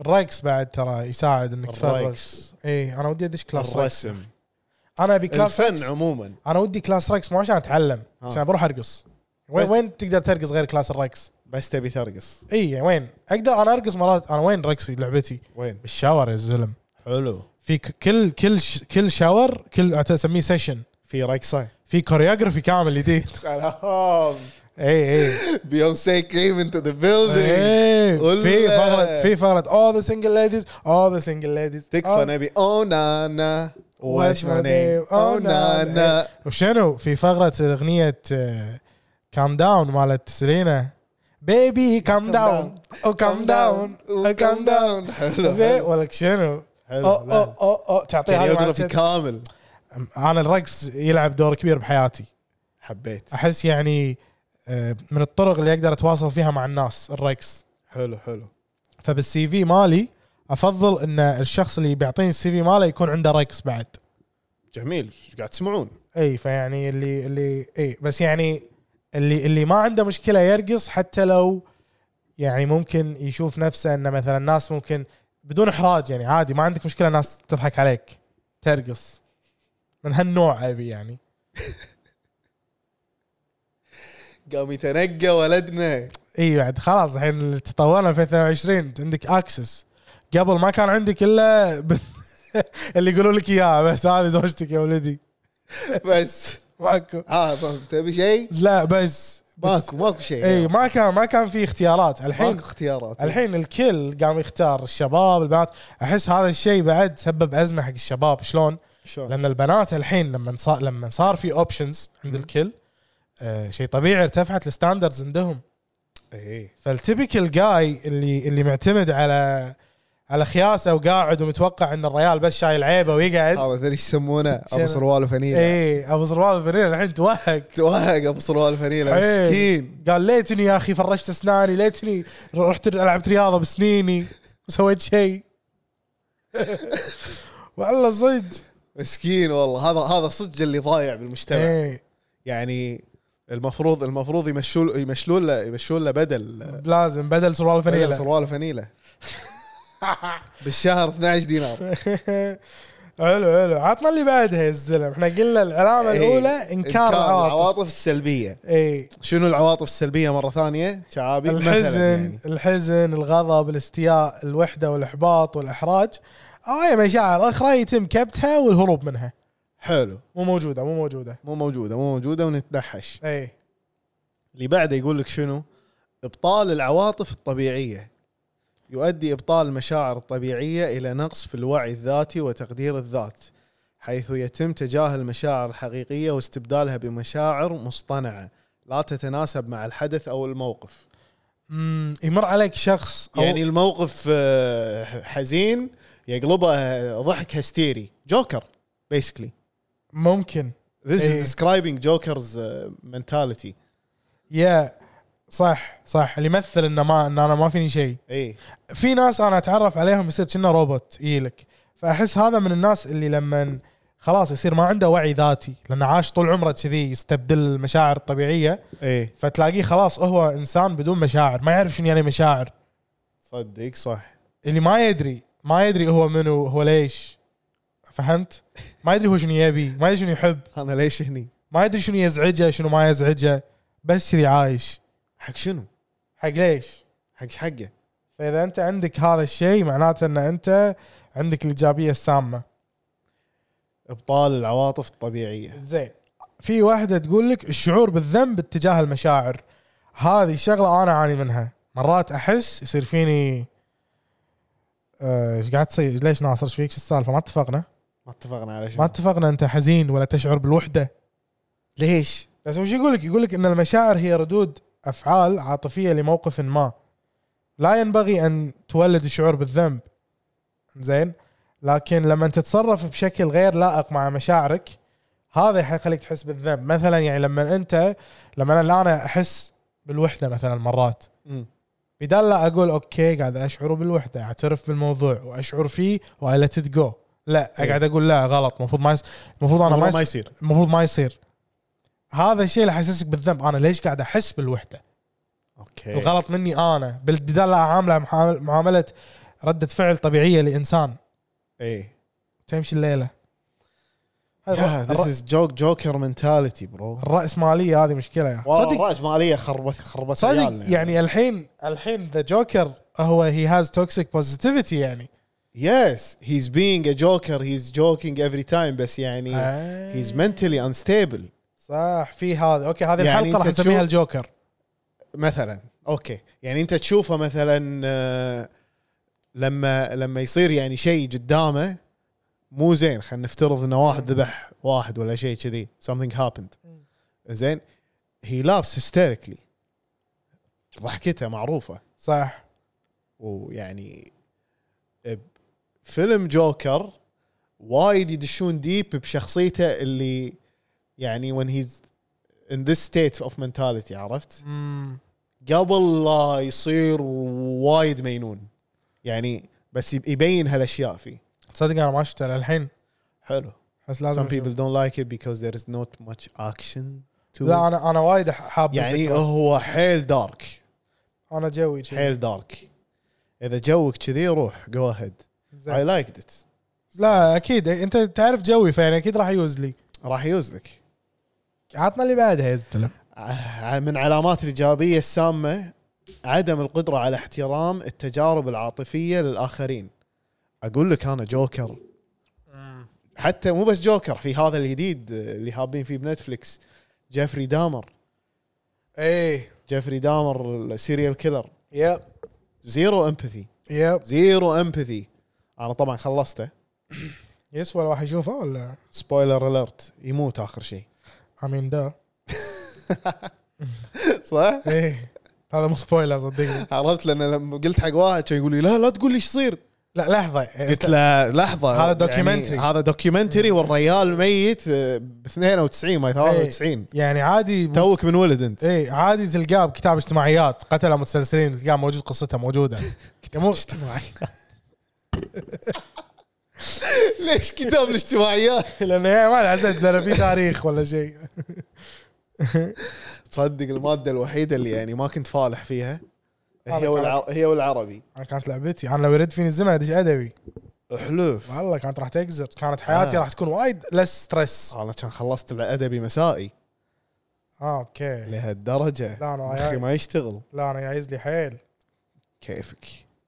الرقص بعد ترى يساعد انك تفرغ الرقص اي انا ودي ادش كلاس رقص الرسم انا ابي كلاس الفن رقص عموما انا ودي كلاس رقص مو عشان اتعلم آه. عشان بروح ارقص وين بس- وين تقدر ترقص غير كلاس الرقص؟ بس تبي ترقص اي يعني وين؟ اقدر انا ارقص مرات انا وين رقصي لعبتي؟ وين بالشاور يا زلم حلو في ك- كل كل ش- كل شاور كل أعت- اسميه سيشن في رقصه في كوريوغرافي كامل جديد سلام إيه، اي اي بيونسي كريم انت ذا بيلدينج إي. قول إيه. في له. فقره في فقره all the single ladies all the single ladies آه. تكفى نبي Oh, او نانا واتش ماي نيم او Oh, نانا وشنو في فقرة أغنية كام داون مالت سيلينا بيبي كام داون او كام داون او كام داون حلو حلو ولك شنو Oh, Oh, حلو. او او او او تعطيها هذه مالت كوريوغرافي يعني كامل شت- انا الرقص يلعب دور كبير بحياتي حبيت احس يعني آه، من الطرق اللي اقدر اتواصل فيها مع الناس الرقص حلو حلو فبالسي في مالي افضل ان الشخص اللي بيعطيني السي في ماله يكون عنده رقص بعد جميل إيش قاعد تسمعون اي فيعني اللي اللي اي بس يعني اللي اللي ما عنده مشكله يرقص حتى لو يعني ممكن يشوف نفسه انه مثلا ناس ممكن بدون احراج يعني عادي ما عندك مشكله ناس تضحك عليك ترقص من هالنوع ابي يعني قام يتنقى ولدنا اي بعد خلاص الحين تطورنا 2022 عندك اكسس قبل ما كان عندك الا ب- اللي يقولوا لك اياها بس هذه زوجتك يا ولدي بس ماكو اه ما تبي شيء لا بس ماكو ماكو شيء اي ما كان ما كان في اختيارات الحين ماكو اختيارات الحين الكل قام يختار الشباب البنات احس هذا الشيء بعد سبب ازمه حق الشباب شلون؟ شلون لان البنات الحين لما صار لما صار في اوبشنز عند الكل آه شيء طبيعي ارتفعت الستاندردز عندهم اي فالتيبيكال جاي اللي اللي معتمد على على خياسه وقاعد ومتوقع ان الريال بس شايل عيبه ويقعد إيه، هذا ادري ايش يسمونه ابو شنو؟ سروال وفنيله اي ابو زروال الفنيل الحين توهق توهق ابو سروال وفنيله إيه. مسكين قال ليتني يا اخي فرشت اسناني ليتني رحت لعبت رياضه بسنيني سويت شيء والله صدق مسكين والله هذا هذا صدق اللي ضايع بالمجتمع ايه يعني المفروض المفروض يمشون يمشون له يمشون له بدل لازم بدل سروال فنيله فنيله سروال فنيله بالشهر 12 دينار حلو حلو عطنا اللي بعدها يا الزلم احنا قلنا العلامه إيه. الاولى انكار العواطف العواطف السلبيه اي شنو العواطف السلبيه مره ثانيه شعابي الحزن مثلا يعني. الحزن الغضب الاستياء الوحده والاحباط والاحراج او اي مشاعر اخرى يتم كبتها والهروب منها حلو مو موجوده مو إيه. موجوده مو موجوده مو موجوده ونتنحش اي اللي بعده يقول لك شنو ابطال العواطف الطبيعيه يؤدي ابطال المشاعر الطبيعيه الى نقص في الوعي الذاتي وتقدير الذات حيث يتم تجاهل المشاعر الحقيقيه واستبدالها بمشاعر مصطنعه لا تتناسب مع الحدث او الموقف مم، يمر عليك شخص أو يعني الموقف آه، حزين يقلبه آه، ضحك هستيري جوكر بيسكلي ممكن This إيه. is describing Joker's uh, mentality. يا صح صح اللي يمثل انه ما ان انا ما فيني شيء اي في ناس انا اتعرف عليهم يصير كنا روبوت يجيلك فاحس هذا من الناس اللي لما خلاص يصير ما عنده وعي ذاتي لانه عاش طول عمره كذي يستبدل المشاعر الطبيعيه اي فتلاقيه خلاص هو انسان بدون مشاعر ما يعرف شنو يعني مشاعر صدق صح اللي ما يدري ما يدري هو منو هو ليش فهمت ما يدري هو شنو يبي ما يدري شنو يحب انا ليش هني؟ ما يدري شنو يزعجه شنو ما يزعجه بس كذي عايش حق شنو؟ حق ليش حق حقه فاذا انت عندك هذا الشيء معناته ان انت عندك الايجابيه السامه ابطال العواطف الطبيعيه زين في واحده تقول لك الشعور بالذنب اتجاه المشاعر هذه شغله انا اعاني منها مرات احس يصير فيني آه، ايش قاعد تصير ليش ناصر ايش فيك شو السالفه ما اتفقنا ما اتفقنا على شنو ما اتفقنا انت حزين ولا تشعر بالوحده ليش؟ بس وش يقول لك يقول لك ان المشاعر هي ردود افعال عاطفيه لموقف ما لا ينبغي ان تولد الشعور بالذنب زين لكن لما تتصرف بشكل غير لائق مع مشاعرك هذا حيخليك تحس بالذنب مثلا يعني لما انت لما انا الان احس بالوحده مثلا مرات مم. بدال لا اقول اوكي قاعد اشعر بالوحده اعترف بالموضوع واشعر فيه واي ليت ات جو لا اقعد اقول لا غلط المفروض ما يس... المفروض انا ما, والله يس... إيه. ما يصير المفروض ما يصير هذا الشيء اللي حسسك بالذنب انا ليش قاعد احس بالوحده اوكي الغلط مني انا بال- بدال لا اعامله محا- معامله رده فعل طبيعيه لانسان اي تمشي الليله هذا Yeah, this الر- is joke joker mentality bro الرأسمالية هذه مشكلة يا والله صدق الراس ماليه خربت خربت صدق عيالنا. يعني الحين الحين ذا جوكر هو هي هاز توكسيك بوزيتيفيتي يعني Yes, he's being a joker. He's joking every time. بس يعني آه. he's mentally unstable. صح في هذا اوكي هذه يعني الحلقة أنت راح نسميها تشوف- الجوكر مثلا اوكي يعني انت تشوفه مثلا آه، لما لما يصير يعني شيء قدامه مو زين خلينا نفترض انه واحد ذبح واحد ولا شيء كذي something happened زين he laughs hysterically ضحكته معروفه صح ويعني ب- فيلم جوكر وايد يدشون ديب بشخصيته اللي يعني when he's in this state of mentality عرفت؟ مم. قبل لا يصير وايد مينون يعني بس يب- يبين هالاشياء فيه تصدق انا ما شفته للحين حلو بس some لازم people don't like it because there is not much action to it. لا انا انا وايد حاب يعني الفكرة. هو حيل دارك انا جوي شي. حيل دارك اذا جوك كذي روح جو اهيد زين. اي لايكد ات لا اكيد انت تعرف جوي فيعني اكيد راح يوز لي راح يوز لك عطنا اللي بعدها يا زلمه ع- من علامات الايجابيه السامه عدم القدره على احترام التجارب العاطفيه للاخرين اقول لك انا جوكر حتى مو بس جوكر في هذا الجديد اللي هابين فيه بنتفلكس جيفري دامر إيه. ايه جيفري دامر السيريال كيلر يب زيرو امباثي يب زيرو امباثي انا طبعا خلصته يسوى الواحد يشوفه ولا سبويلر اليرت يموت اخر شيء امين ده صح؟ ايه هذا مو سبويلر صدقني عرفت لان لما قلت حق واحد كان يقول لي لا لا تقول لي ايش يصير لا لحظه أنت- قلت له لحظه هذا documentary. يعني هذا دوكيومنتري والريال ميت ب 92 ما 93 يعني عادي توك من ولد انت ايه عادي تلقاه بكتاب اجتماعيات قتله متسلسلين تلقاه موجود قصته موجوده مو- ليش كتاب الاجتماعيات لانه يعني ما العزت لانه في تاريخ ولا شيء تصدق الماده الوحيده اللي يعني ما كنت فالح فيها هذا هي والع... هي والعربي انا كانت لعبتي انا لو يرد فيني الزمن ادش ادبي احلف والله كانت راح تقزر كانت حياتي آه. راح تكون وايد لس ستريس انا كان خلصت الادبي مسائي اه اوكي لهالدرجه لا، أنا مخي عيال. آه. ما يشتغل لا انا جايز لي حيل كيفك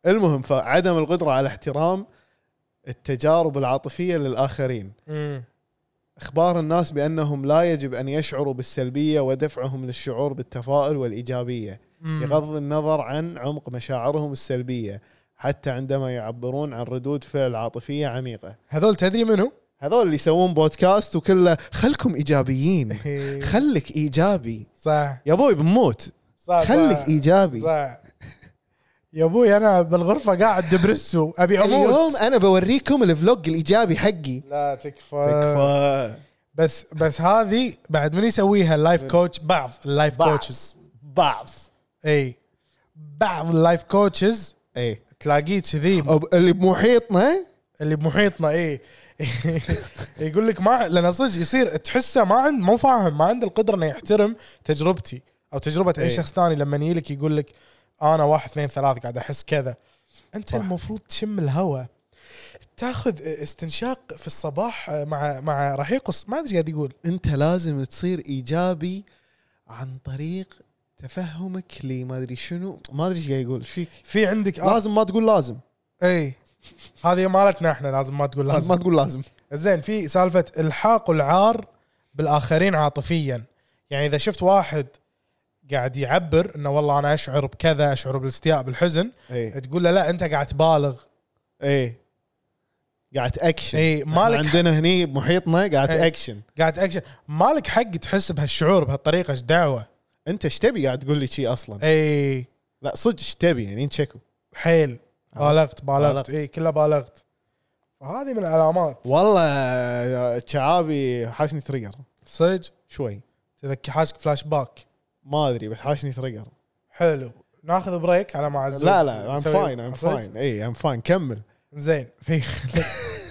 المهم فعدم القدره على احترام التجارب العاطفيه للاخرين امم اخبار الناس بانهم لا يجب ان يشعروا بالسلبيه ودفعهم للشعور بالتفاؤل والايجابيه بغض النظر عن عمق مشاعرهم السلبيه حتى عندما يعبرون عن ردود فعل عاطفيه عميقه هذول تدري منو؟ هذول اللي يسوون بودكاست وكله خلكم ايجابيين إيه. خلك ايجابي صح يا ابوي بنموت صح خلك صح. ايجابي صح يا ابوي انا بالغرفه قاعد دبرسو ابي اموت اليوم انا بوريكم الفلوج الايجابي حقي لا تكفى تكفى بس بس هذه بعد من يسويها اللايف كوتش بعض اللايف إيه. بعض. كوتشز بعض اي بعض اللايف كوتشز اي تلاقيه كذي أب- اللي بمحيطنا اللي بمحيطنا ايه يقول لك ما لان صدق يصير تحسه ما عند مو فاهم ما عنده القدره انه يحترم تجربتي او تجربه اي إيه. شخص ثاني لما يجي لك يقول لك انا واحد اثنين ثلاث قاعد احس كذا انت المفروض تشم الهواء تاخذ استنشاق في الصباح مع مع رحيق الص- ما ادري قاعد يقول انت لازم تصير ايجابي عن طريق تفهمك لي ما ادري شنو ما ادري ايش قاعد يقول ايش فيك في عندك آه لازم ما تقول لازم اي هذه مالتنا احنا لازم ما تقول لازم لازم ما تقول لازم زين في سالفه الحاق العار بالاخرين عاطفيا يعني اذا شفت واحد قاعد يعبر انه والله انا اشعر بكذا اشعر بالاستياء بالحزن اي تقول له لا انت قاعد تبالغ اي إيه. قاعد اكشن اي إيه. مالك مالك عندنا هني محيطنا قاعد إيه. اكشن قاعد اكشن مالك حق تحس بهالشعور بهالطريقه ايش دعوه انت ايش تبي قاعد تقول لي شي اصلا اي لا صدق ايش تبي يعني انت شكو حيل بالغت بالغت بالغت. اي كلها بالغت فهذه من العلامات والله آه، شعابي حاشني تريجر صدق شوي تذكر حاجك فلاش باك ما ادري بس حاشني تريجر حلو ناخذ بريك على ما عزوز لا لا ام نسوي- فاين ام صدق؟ فاين اي ام فاين إيه، كمل زين في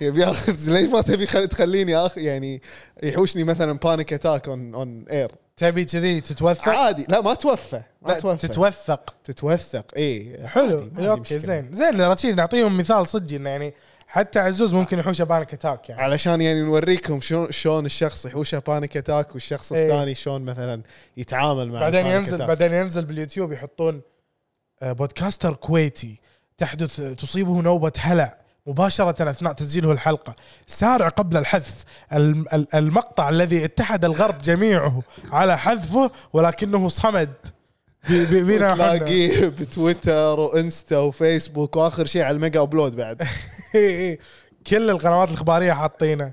يبي ياخذ ليش ما تبي خل- تخليني اخ يعني يحوشني مثلا بانيك اتاك اون اون اير تبي كذي تتوثق عادي لا ما توفى ما لا توفى تتوثق تتوثق اي حلو عادي، ما إيه، عندي اوكي مشكلة. زين زين رشيد نعطيهم مثال صدق انه يعني حتى عزوز ممكن يحوشه بانك اتاك يعني علشان يعني نوريكم شلون شلون الشخص يحوشه بانيك اتاك والشخص إيه. الثاني شلون مثلا يتعامل مع بعدين البانيك ينزل أتاك. بعدين ينزل باليوتيوب يحطون آه، بودكاستر كويتي تحدث آه، تصيبه نوبة هلع مباشرة أثناء تسجيله الحلقة سارع قبل الحذف الم- ال- المقطع الذي اتحد الغرب جميعه على حذفه ولكنه صمد بي- بي- بينا إحنا. تلاقيه بتويتر وانستا وفيسبوك واخر شيء على الميجا ابلود بعد إي إي. إيه، كل القنوات الإخبارية حاطينه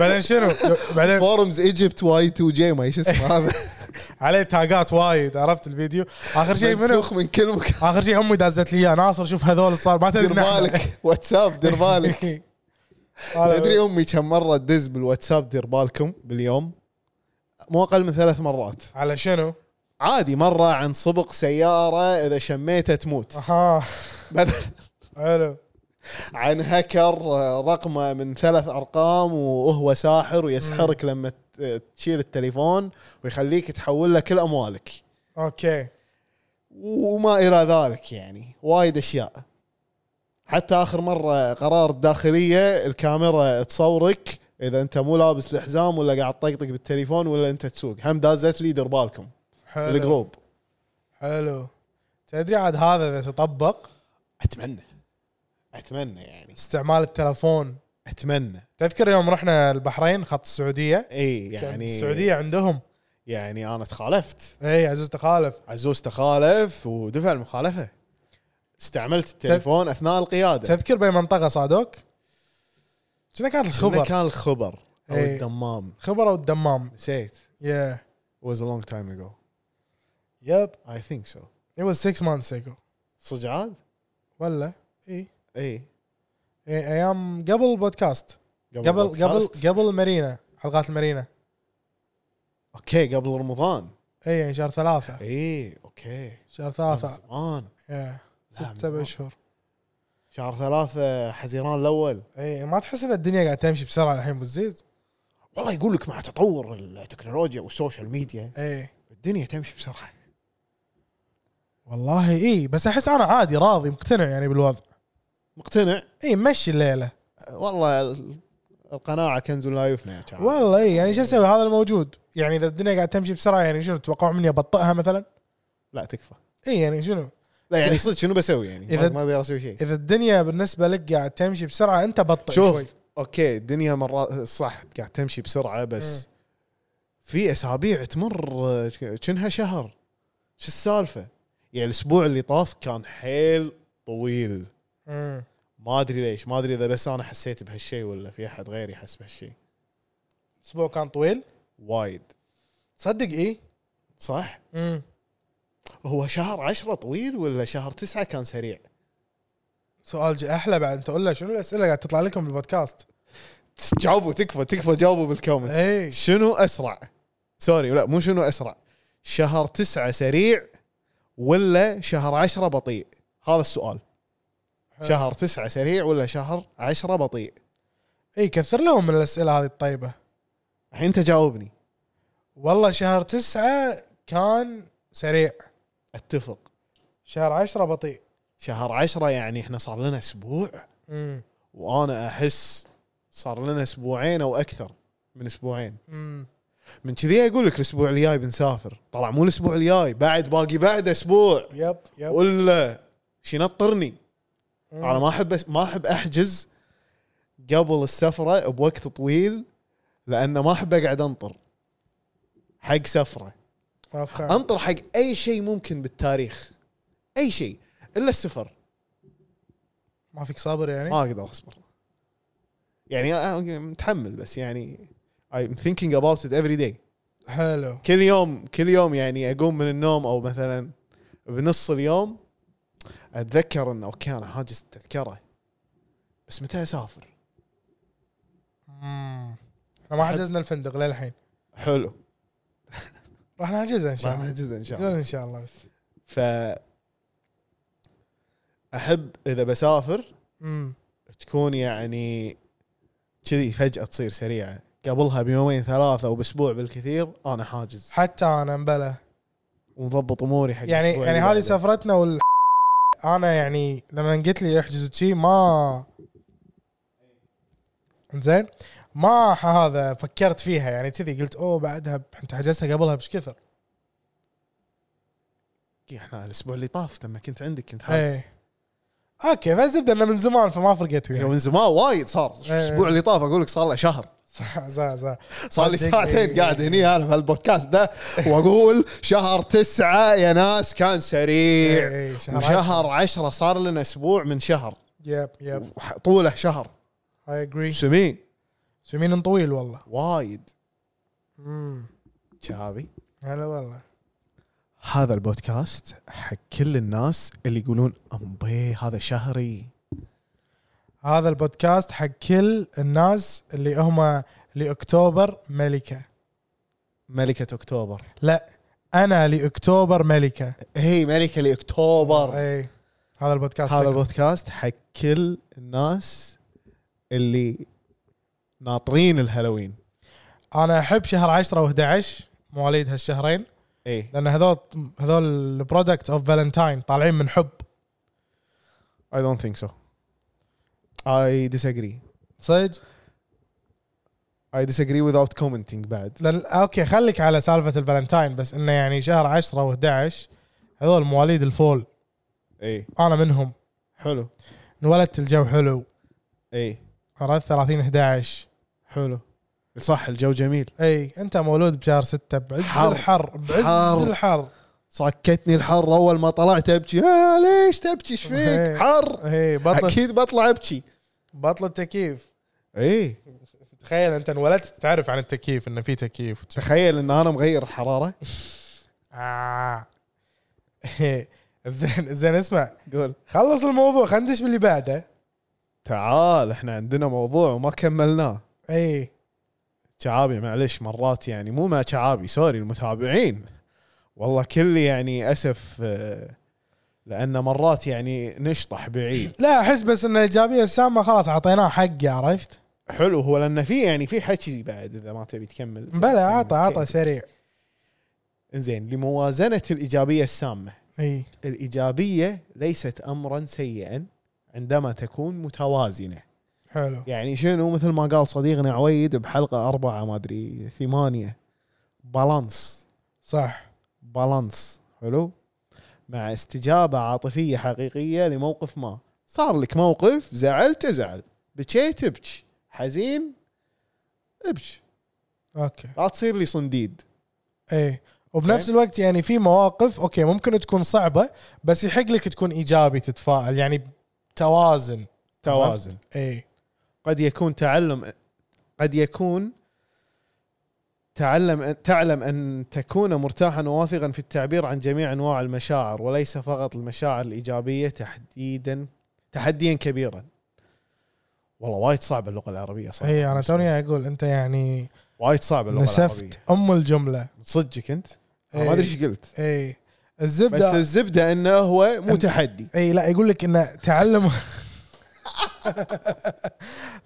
بعدين شنو بعدين فورمز ايجيبت واي 2 جي ما ايش اسمه هذا عليه تاجات وايد عرفت الفيديو اخر شيء منو منسوخ من كل مكان اخر شيء امي دازت لي اياه ناصر شوف هذول صار ما دير تدري نحن. بالك واتساب دير بالك أنا- تدري امي كم مره تدز بالواتساب دير بالكم باليوم مو اقل من ثلاث مرات على شنو؟ عادي مره عن سبق سياره اذا شميته تموت اها مثلا حلو عن هكر آه، رقمه من ثلاث ارقام وهو ساحر ويسحرك لما ت- تشيل التليفون ويخليك تحول له كل اموالك اوكي وما الى ذلك يعني وايد اشياء حتى اخر مره قرار الداخليه الكاميرا تصورك اذا انت مو لابس الحزام ولا قاعد تطقطق بالتليفون ولا انت تسوق هم دازت لي دير بالكم حلو الجروب حلو تدري عاد هذا اذا تطبق اتمنى اتمنى يعني استعمال التلفون اتمنى تذكر يوم رحنا البحرين خط السعوديه اي يعني يعني السعوديه عندهم يعني انا تخالفت اي عزوز تخالف عزوز تخالف ودفع المخالفه استعملت التليفون اثناء القياده تذكر باي منطقه صادوك؟ شنو كانت إنه الخبر؟ كان الخبر او إيه. الدمام خبر او الدمام؟ نسيت يا was a long time ago يب I think so It was six months ago صدق عاد؟ ولا اي اي إيه، ايام قبل البودكاست قبل قبل البودكاست؟ قبل المارينا حلقات المارينا اوكي قبل رمضان اي يعني شهر ثلاثة اي اوكي شهر من ثلاثة زمان إيه، إيه، لا، ست من سبع زمان. شهور شهر ثلاثة حزيران الاول اي إيه، ما تحس ان الدنيا قاعد تمشي بسرعة الحين أبو الزيز والله يقول لك مع تطور التكنولوجيا والسوشيال ميديا اي الدنيا تمشي بسرعة والله اي بس احس انا عادي راضي مقتنع يعني بالوضع مقتنع اي مشي الليلة والله ال- القناعة كنز لا يفنى يا شعب والله اي يعني شو اسوي هذا الموجود يعني اذا الدنيا قاعد تمشي بسرعة يعني شنو تتوقعون مني ابطئها مثلا لا تكفى اي يعني شنو لا يعني صدق شنو بسوي يعني ما- إذا- ما اقدر اسوي شيء اذا الدنيا بالنسبة لك قاعد تمشي بسرعة انت بطئ طيب شوي شوف اوكي الدنيا مرات صح قاعد تمشي بسرعة بس في اسابيع تمر آه، كأنها شهر شو السالفة يعني الاسبوع اللي طاف كان حيل طويل مم. ما ادري ليش ما ادري اذا بس انا حسيت بهالشيء ولا في احد غيري يحس بهالشيء اسبوع كان طويل إيه؟ وايد صدق اي صح مم. هو شهر عشرة طويل ولا شهر تسعة كان سريع سؤال جي احلى بعد انت قول له شنو الاسئله قاعد تطلع لكم بالبودكاست جاوبوا تكفى تكفى جاوبوا بالكومنت اي شنو اسرع سوري لا مو شنو اسرع شهر تسعة سريع ولا شهر عشرة بطيء هذا السؤال حلو. شهر تسعة سريع ولا شهر عشرة بطيء اي كثر لهم من الاسئله هذه الطيبه الحين انت جاوبني والله شهر تسعة كان سريع اتفق شهر عشرة بطيء شهر عشرة يعني احنا صار لنا اسبوع مم. وانا احس صار لنا اسبوعين او اكثر من اسبوعين مم. من كذي اقول لك الاسبوع الجاي بنسافر طلع مو الاسبوع الجاي بعد باقي بعد اسبوع يب يب ولا شي نطرني مم. انا ما احب ما احب احجز قبل السفره بوقت طويل لان ما احب اقعد انطر حق سفره ما أفهم. انطر حق اي شيء ممكن بالتاريخ اي شيء الا السفر ما فيك صبر يعني ما اقدر اصبر يعني أنا متحمل بس يعني I'm thinking about it every day حلو كل يوم كل يوم يعني اقوم من النوم او مثلا بنص اليوم اتذكر انه اوكي انا حاجز التذكره بس متى اسافر؟ مم. احنا ما حجزنا الفندق للحين حلو راح نحجزها ان شاء راح الله نحجزها ان شاء قول الله ان شاء الله بس ف احب اذا بسافر مم. تكون يعني كذي فجاه تصير سريعه قبلها بيومين ثلاثه او باسبوع بالكثير انا حاجز حتى انا مبلى ومضبط اموري حق يعني الأسبوع يعني اللي هذه بعده. سفرتنا وال انا يعني لما قلت لي احجز شي ما زين ما ح- هذا فكرت فيها يعني كذي قلت اوه بعدها ب- انت حجزتها قبلها بش كثر احنا الاسبوع إيه، اللي طاف لما كنت عندك كنت حاجز ايه اوكي فالزبده انه من زمان فما فرقت هي وياي يعني من زمان وايد صار إيه. الاسبوع اللي طاف اقول لك صار له شهر صح صح صح صار لي صدق. إيه. ساعتين قاعد هني انا في البودكاست ده واقول شهر تسعة يا ناس كان سريع إيه، شهر وشهر عشرة صار لنا اسبوع من شهر يب يب وح- طوله شهر اي اجري سمين سمين طويل والله وايد امم شهابي هلا والله هذا البودكاست حق كل الناس اللي يقولون امبي هذا شهري هذا البودكاست حق كل الناس اللي هم لاكتوبر ملكه ملكة اكتوبر لا انا لاكتوبر ملكه هي إيه، ملكة لاكتوبر اي هذا البودكاست هذا حق- البودكاست حق كل الناس اللي ناطرين الهالوين انا احب شهر 10 و11 مواليد هالشهرين ايه لان هذول هذول البرودكت اوف فالنتاين طالعين من حب I don't think so. I disagree. صدق I disagree without commenting بعد. لأن اوكي خليك على سالفه الفالنتاين بس انه يعني شهر 10 و11 هذول مواليد الفول اي انا منهم حلو. انولدت الجو حلو اي عرفت 30 11 حلو. صح الجو جميل. اي انت مولود بشهر 6 بعز حر. الحر بعز حر. الحر صكتني الحر اول ما طلعت ابكي آه ليش تبكي ايش فيك؟ إيه. حر اي بطل اكيد بطلع ابكي. بطل التكييف إيه. اي تخيل انت انولدت تعرف عن التكييف انه في تكييف تخيل ان انا مغير الحراره. آه. زين زين اسمع قول خلص الموضوع خلينا ندش باللي بعده تعال احنا عندنا موضوع وما كملناه. اي شعابي معلش مرات يعني مو ما شعابي سوري المتابعين والله كل يعني اسف آه، لان مرات يعني نشطح بعيد لا احس بس ان الايجابيه السامه خلاص اعطيناه حقه عرفت؟ حلو هو لان في يعني في حكي بعد اذا ما تبي تكمل بلا عطى عطى أوكي. سريع انزين لموازنه الايجابيه السامه اي الايجابيه ليست امرا سيئا عندما تكون متوازنه حلو يعني شنو مثل ما قال صديقنا عويد بحلقه أربعة ما ادري ثمانية بالانس صح بالانس حلو مع استجابة عاطفية حقيقية لموقف ما صار لك موقف زعلت ازعل بكيت ابكي حزين ابكي اوكي لا تصير لي صنديد اي إيه. وبنفس الوقت يعني في مواقف اوكي ممكن تكون صعبه بس يحق لك تكون ايجابي تتفائل يعني توازن إيه. توازن اي قد يكون تعلم قد يكون تعلم تعلم ان تكون مرتاحا وواثقا في التعبير عن جميع انواع المشاعر وليس فقط المشاعر الايجابيه تحديدا تحديا كبيرا. والله وايد صعبه اللغه العربيه صح؟ اي انا إيه، توني اقول انت يعني وايد صعبه اللغه العربيه نسفت ام الجمله صدقك انت؟ أنا إيه. ما ادري ايش قلت اي بس الزبده الزبده انه هو مو أنت- تحدي اي إيه، لا يقول لك انه تعلم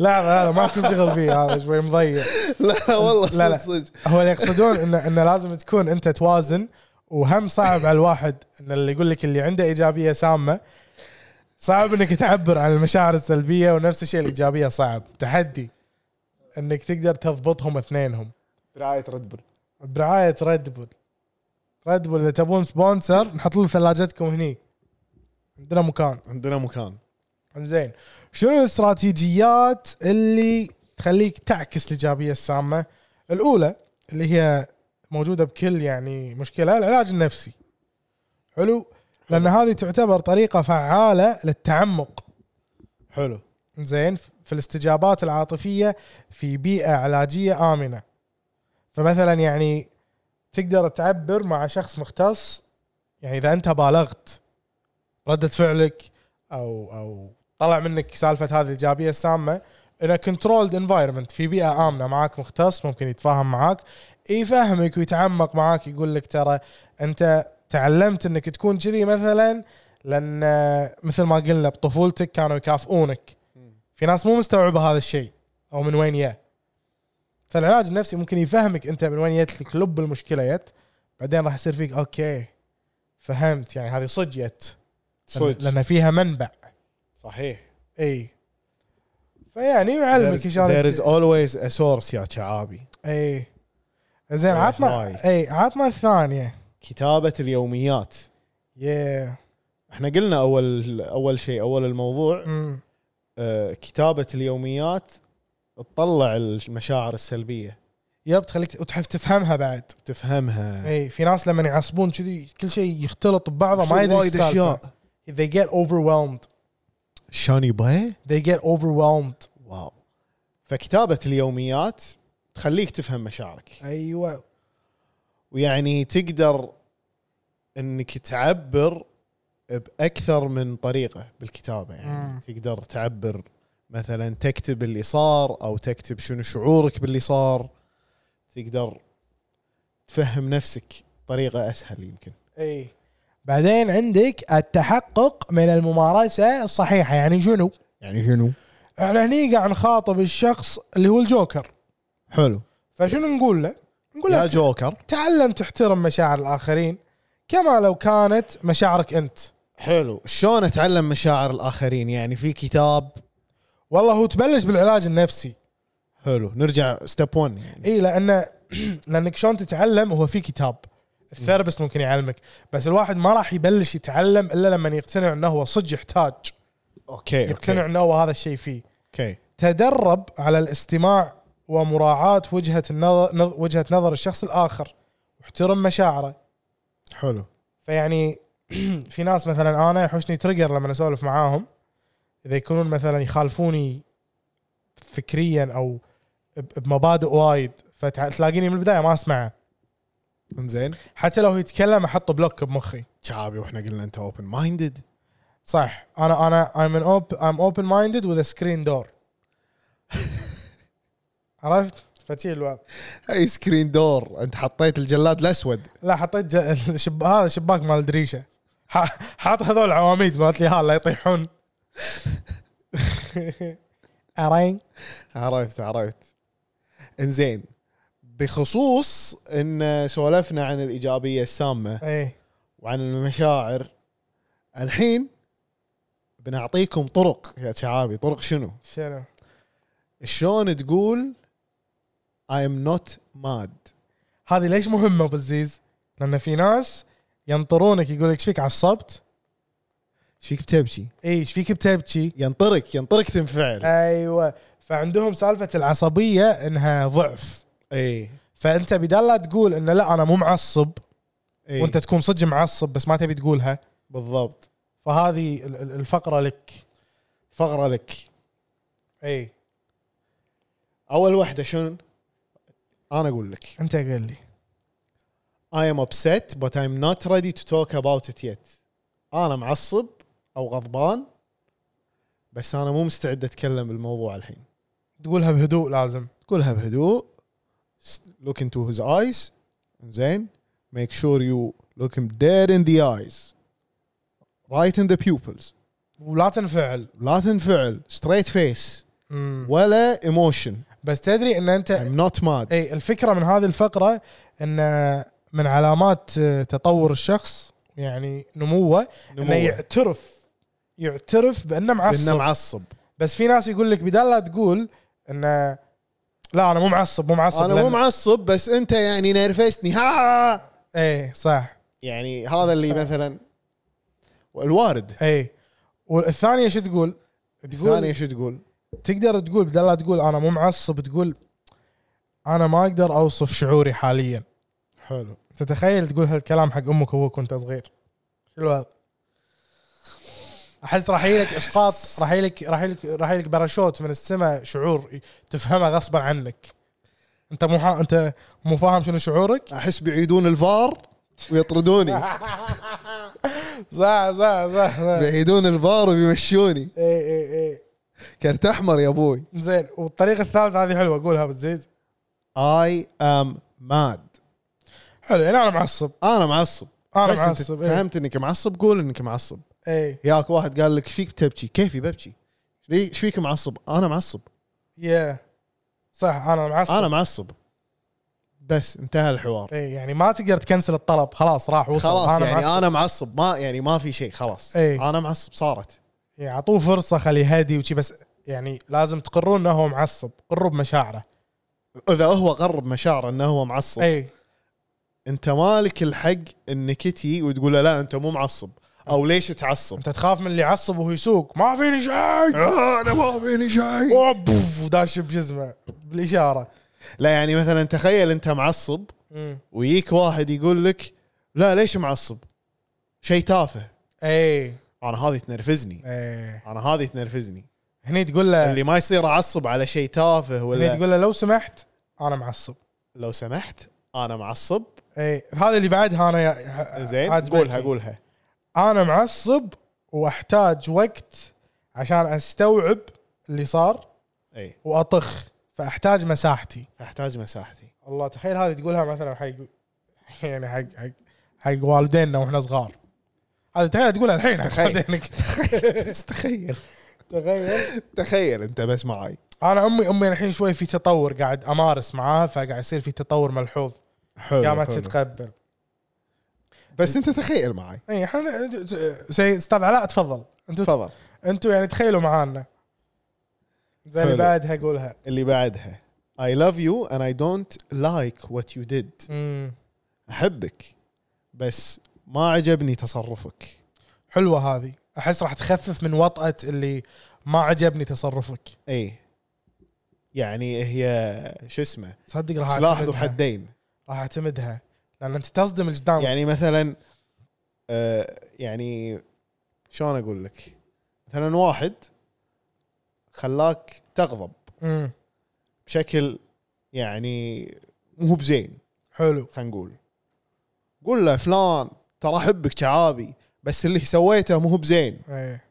لحظه هذا ما تنشغل فيه هذا شوي مضيع لا والله لا، لا. صدق صدق هو اللي يقصدون انه انه لازم تكون انت توازن وهم صعب على الواحد ان اللي يقول لك اللي عنده ايجابيه سامه صعب انك تعبر عن المشاعر السلبيه ونفس الشيء الايجابيه صعب تحدي انك تقدر تضبطهم اثنينهم برعايه ريد بول برعايه ريد بول ريد بول اذا تبون سبونسر نحط له ثلاجتكم هني عندنا مكان عندنا مكان زين شنو الاستراتيجيات اللي تخليك تعكس الايجابيه السامه؟ الاولى اللي هي موجوده بكل يعني مشكله العلاج النفسي. حلو؟ لان هذه تعتبر طريقه فعاله للتعمق حلو زين في الاستجابات العاطفيه في بيئه علاجيه امنه. فمثلا يعني تقدر تعبر مع شخص مختص يعني اذا انت بالغت رده فعلك او او طلع منك سالفه هذه الايجابيه السامه ان كنترولد انفايرمنت في بيئه امنه معاك مختص ممكن يتفاهم معاك يفهمك ويتعمق معاك يقول لك ترى انت تعلمت انك تكون كذي مثلا لان مثل ما قلنا بطفولتك كانوا يكافئونك في ناس مو مستوعبه هذا الشيء او من وين يا فالعلاج النفسي ممكن يفهمك انت من وين جت لك لب المشكله جت بعدين راح يصير فيك اوكي فهمت يعني هذه صج جت صدق لان فيها منبع صحيح اي فيعني يعلمك there is شلون always a source يا شعابي اي زين there is عطنا life. اي عطنا الثانيه كتابه اليوميات يا احنا قلنا اول اول شيء اول الموضوع آه، كتابه اليوميات تطلع المشاعر السلبيه يب تخليك وتحب تفهمها بعد تفهمها اي في ناس لما يعصبون كذي كل شيء يختلط ببعضه إيه، ما يصير يدري وايد السالفة. اشياء they get overwhelmed شاني باي they get overwhelmed واو فكتابه اليوميات تخليك تفهم مشاعرك ايوه ويعني تقدر انك تعبر باكثر من طريقه بالكتابه يعني مم. تقدر تعبر مثلا تكتب اللي صار او تكتب شنو شعورك باللي صار تقدر تفهم نفسك بطريقه اسهل يمكن اي بعدين عندك التحقق من الممارسه الصحيحه يعني شنو؟ يعني شنو احنا هني قاعد نخاطب الشخص اللي هو الجوكر حلو فشنو نقول له؟ نقول يا له جوكر تعلم تحترم مشاعر الاخرين كما لو كانت مشاعرك انت حلو شلون اتعلم مشاعر الاخرين يعني في كتاب والله هو تبلش بالعلاج النفسي حلو نرجع ستيب 1 يعني اي لان لانك شلون تتعلم هو في كتاب الثيرابيست ممكن يعلمك بس الواحد ما راح يبلش يتعلم الا لما يقتنع انه هو صدق يحتاج اوكي يقتنع اوكي انه هو هذا الشيء فيه اوكي تدرب على الاستماع ومراعاة وجهة النظر نظ- وجهة نظر الشخص الآخر واحترم مشاعره حلو فيعني في ناس مثلا أنا يحوشني تريجر لما أسولف معاهم إذا يكونون مثلا يخالفوني فكريا أو ب- بمبادئ وايد فتلاقيني من البداية ما أسمعه انزين حتى لو يتكلم أحط بلوك بمخي شعبي واحنا قلنا انت اوبن مايندد صح أنا أنا I'm an open I'm open minded with a screen door عرفت؟ فتشيل الوضع اي سكرين دور انت حطيت الجلاد الاسود لا حطيت ج... الشب... هذا شباك مال دريشه ح- حاط هذول العواميد مالت لي هالا يطيحون ارين عرفت عرفت انزين بخصوص ان سولفنا عن الايجابيه السامه ايه وعن المشاعر الحين بنعطيكم طرق يا شعابي طرق شنو؟ شنو شلون تقول I am not mad هذه ليش مهمه ابو الزيز؟ لان في ناس ينطرونك يقول لك ايش فيك عصبت؟ شفيك بتبكي اي ايش فيك بتبكي؟ ينطرك ينطرك تنفعل ايوه فعندهم سالفه العصبيه انها ضعف اي فانت بدال لا تقول انه لا انا مو معصب إيه. وانت تكون صدق معصب بس ما تبي تقولها بالضبط فهذه ال- ال- الفقره لك فقره لك اي اول واحده شنو؟ انا اقول لك انت قل لي I am upset but I'm not ready to talk about it yet. أنا معصب أو غضبان بس أنا مو مستعد أتكلم بالموضوع الحين. تقولها بهدوء لازم قولها بهدوء s- look into his eyes زين make sure you look him dead in the eyes right in the pupils ولا تنفعل لا تنفعل straight face مم. ولا emotion بس تدري ان انت I'm not mad اي الفكره من هذه الفقره ان من علامات آه، تطور الشخص يعني نموه انه نموه. يعترف يعترف بانه لأنه معصب معصب بس في ناس يقول لك بدال لا تقول انه لا انا مو معصب مو معصب أنا مو لأن- معصب بس أنت يعني نرفزتني ها اي صح يعني هذا اللي آه. مثلا الوارد اي والثانيه شو تقول؟ ثانية تقول شو تقول؟ تقدر تقول بدال لا تقول انا مو معصب تقول انا ما اقدر اوصف شعوري حاليا حلو تتخيل تقول هالكلام حق امك وابوك وانت صغير شو الوضع؟ احس راح يجيلك اسقاط راح يجيلك راح يجيلك راح يجيلك باراشوت من السماء شعور تفهمه غصبا عنك انت مو حا- انت مو فاهم شنو شعورك أحس بيعيدون الفار ويطردوني صح صح صح اي بيعيدون الفار وبيمشوني اي اي كرت أحمر يا أبوي إيه، زين والطريقه الثالثه هذه حلوه قولها ابو الزيز I am mad حلو يعني انا معصب أنا معصب أنا بس أنت معصب، إيه. فهمت إنك معصب قول إنك معصب اي ياك واحد قال لك ايش فيك تبكي كيفي ببكي ليه ايش فيك معصب أنا معصب يا صح انا معصب أنا معصب بس انتهى الحوار اي يعني ما تقدر تكنسل الطلب خلاص راح وصل خلاص أنا يعني معصب. أنا معصب ما يعني ما في شيء خلاص إيه. أنا معصب صارت يعني اعطوه فرصه خليه هادي وشي بس يعني لازم تقرون انه هو معصب قروا بمشاعره اذا هو قرب مشاعره انه هو معصب اي انت مالك الحق انك تجي وتقول له لا انت مو معصب او ليش تعصب؟ انت تخاف من اللي يعصب وهو يسوق ما فيني شيء آه، انا ما فيني شيء أوه، بوف، وداش بجزمه بالاشاره لا يعني مثلا تخيل انت معصب أمم. ويجيك واحد يقول لك لا ليش معصب؟ شيء تافه اي انا هذه تنرفزني اي انا هذه تنرفزني إيه. هني تقول له اللي ما يصير اعصب على شيء تافه هني ولا تقول له لو سمحت انا معصب لو سمحت انا معصب اي هذا اللي بعدها انا يا- زين عاجبتني. قولها قولها انا معصب واحتاج وقت عشان استوعب اللي صار اي واطخ فاحتاج مساحتي احتاج مساحتي الله تخيل هذه تقولها مثلا حق يعني حق حق حق والدينا واحنا صغار هذا تخيل تقولها الحين حق تخيل. والدينك تخيل تخيل تخيل انت بس معاي انا امي امي الحين شوي في تطور قاعد امارس معاها فقاعد يصير في تطور ملحوظ حلو قامت حلو. تتقبل إيه، بس انت تخيل معاي اي احنا شيء استاذ علاء تفضل انتوا تفضل انتوا يعني تخيلوا معانا زي اللي حلو. بعدها قولها اللي بعدها I love you and I don't like what you did امم أحبك بس ما عجبني تصرفك حلوه هذه احس راح تخفف من وطأة اللي ما عجبني تصرفك أي إيه. يعني هي شو اسمه صدق راح سلاح ذو أعتمدها. حدين راح اعتمدها لان انت تصدم الجدام يعني يعني مثلا آه يعني شلون أقول لك مثلا واحد خلاك تغضب امم بشكل يعني مو بزين حلو خلينا نقول قول له فلان ترى احبك شعابي بس اللي سويته مو بزين ايه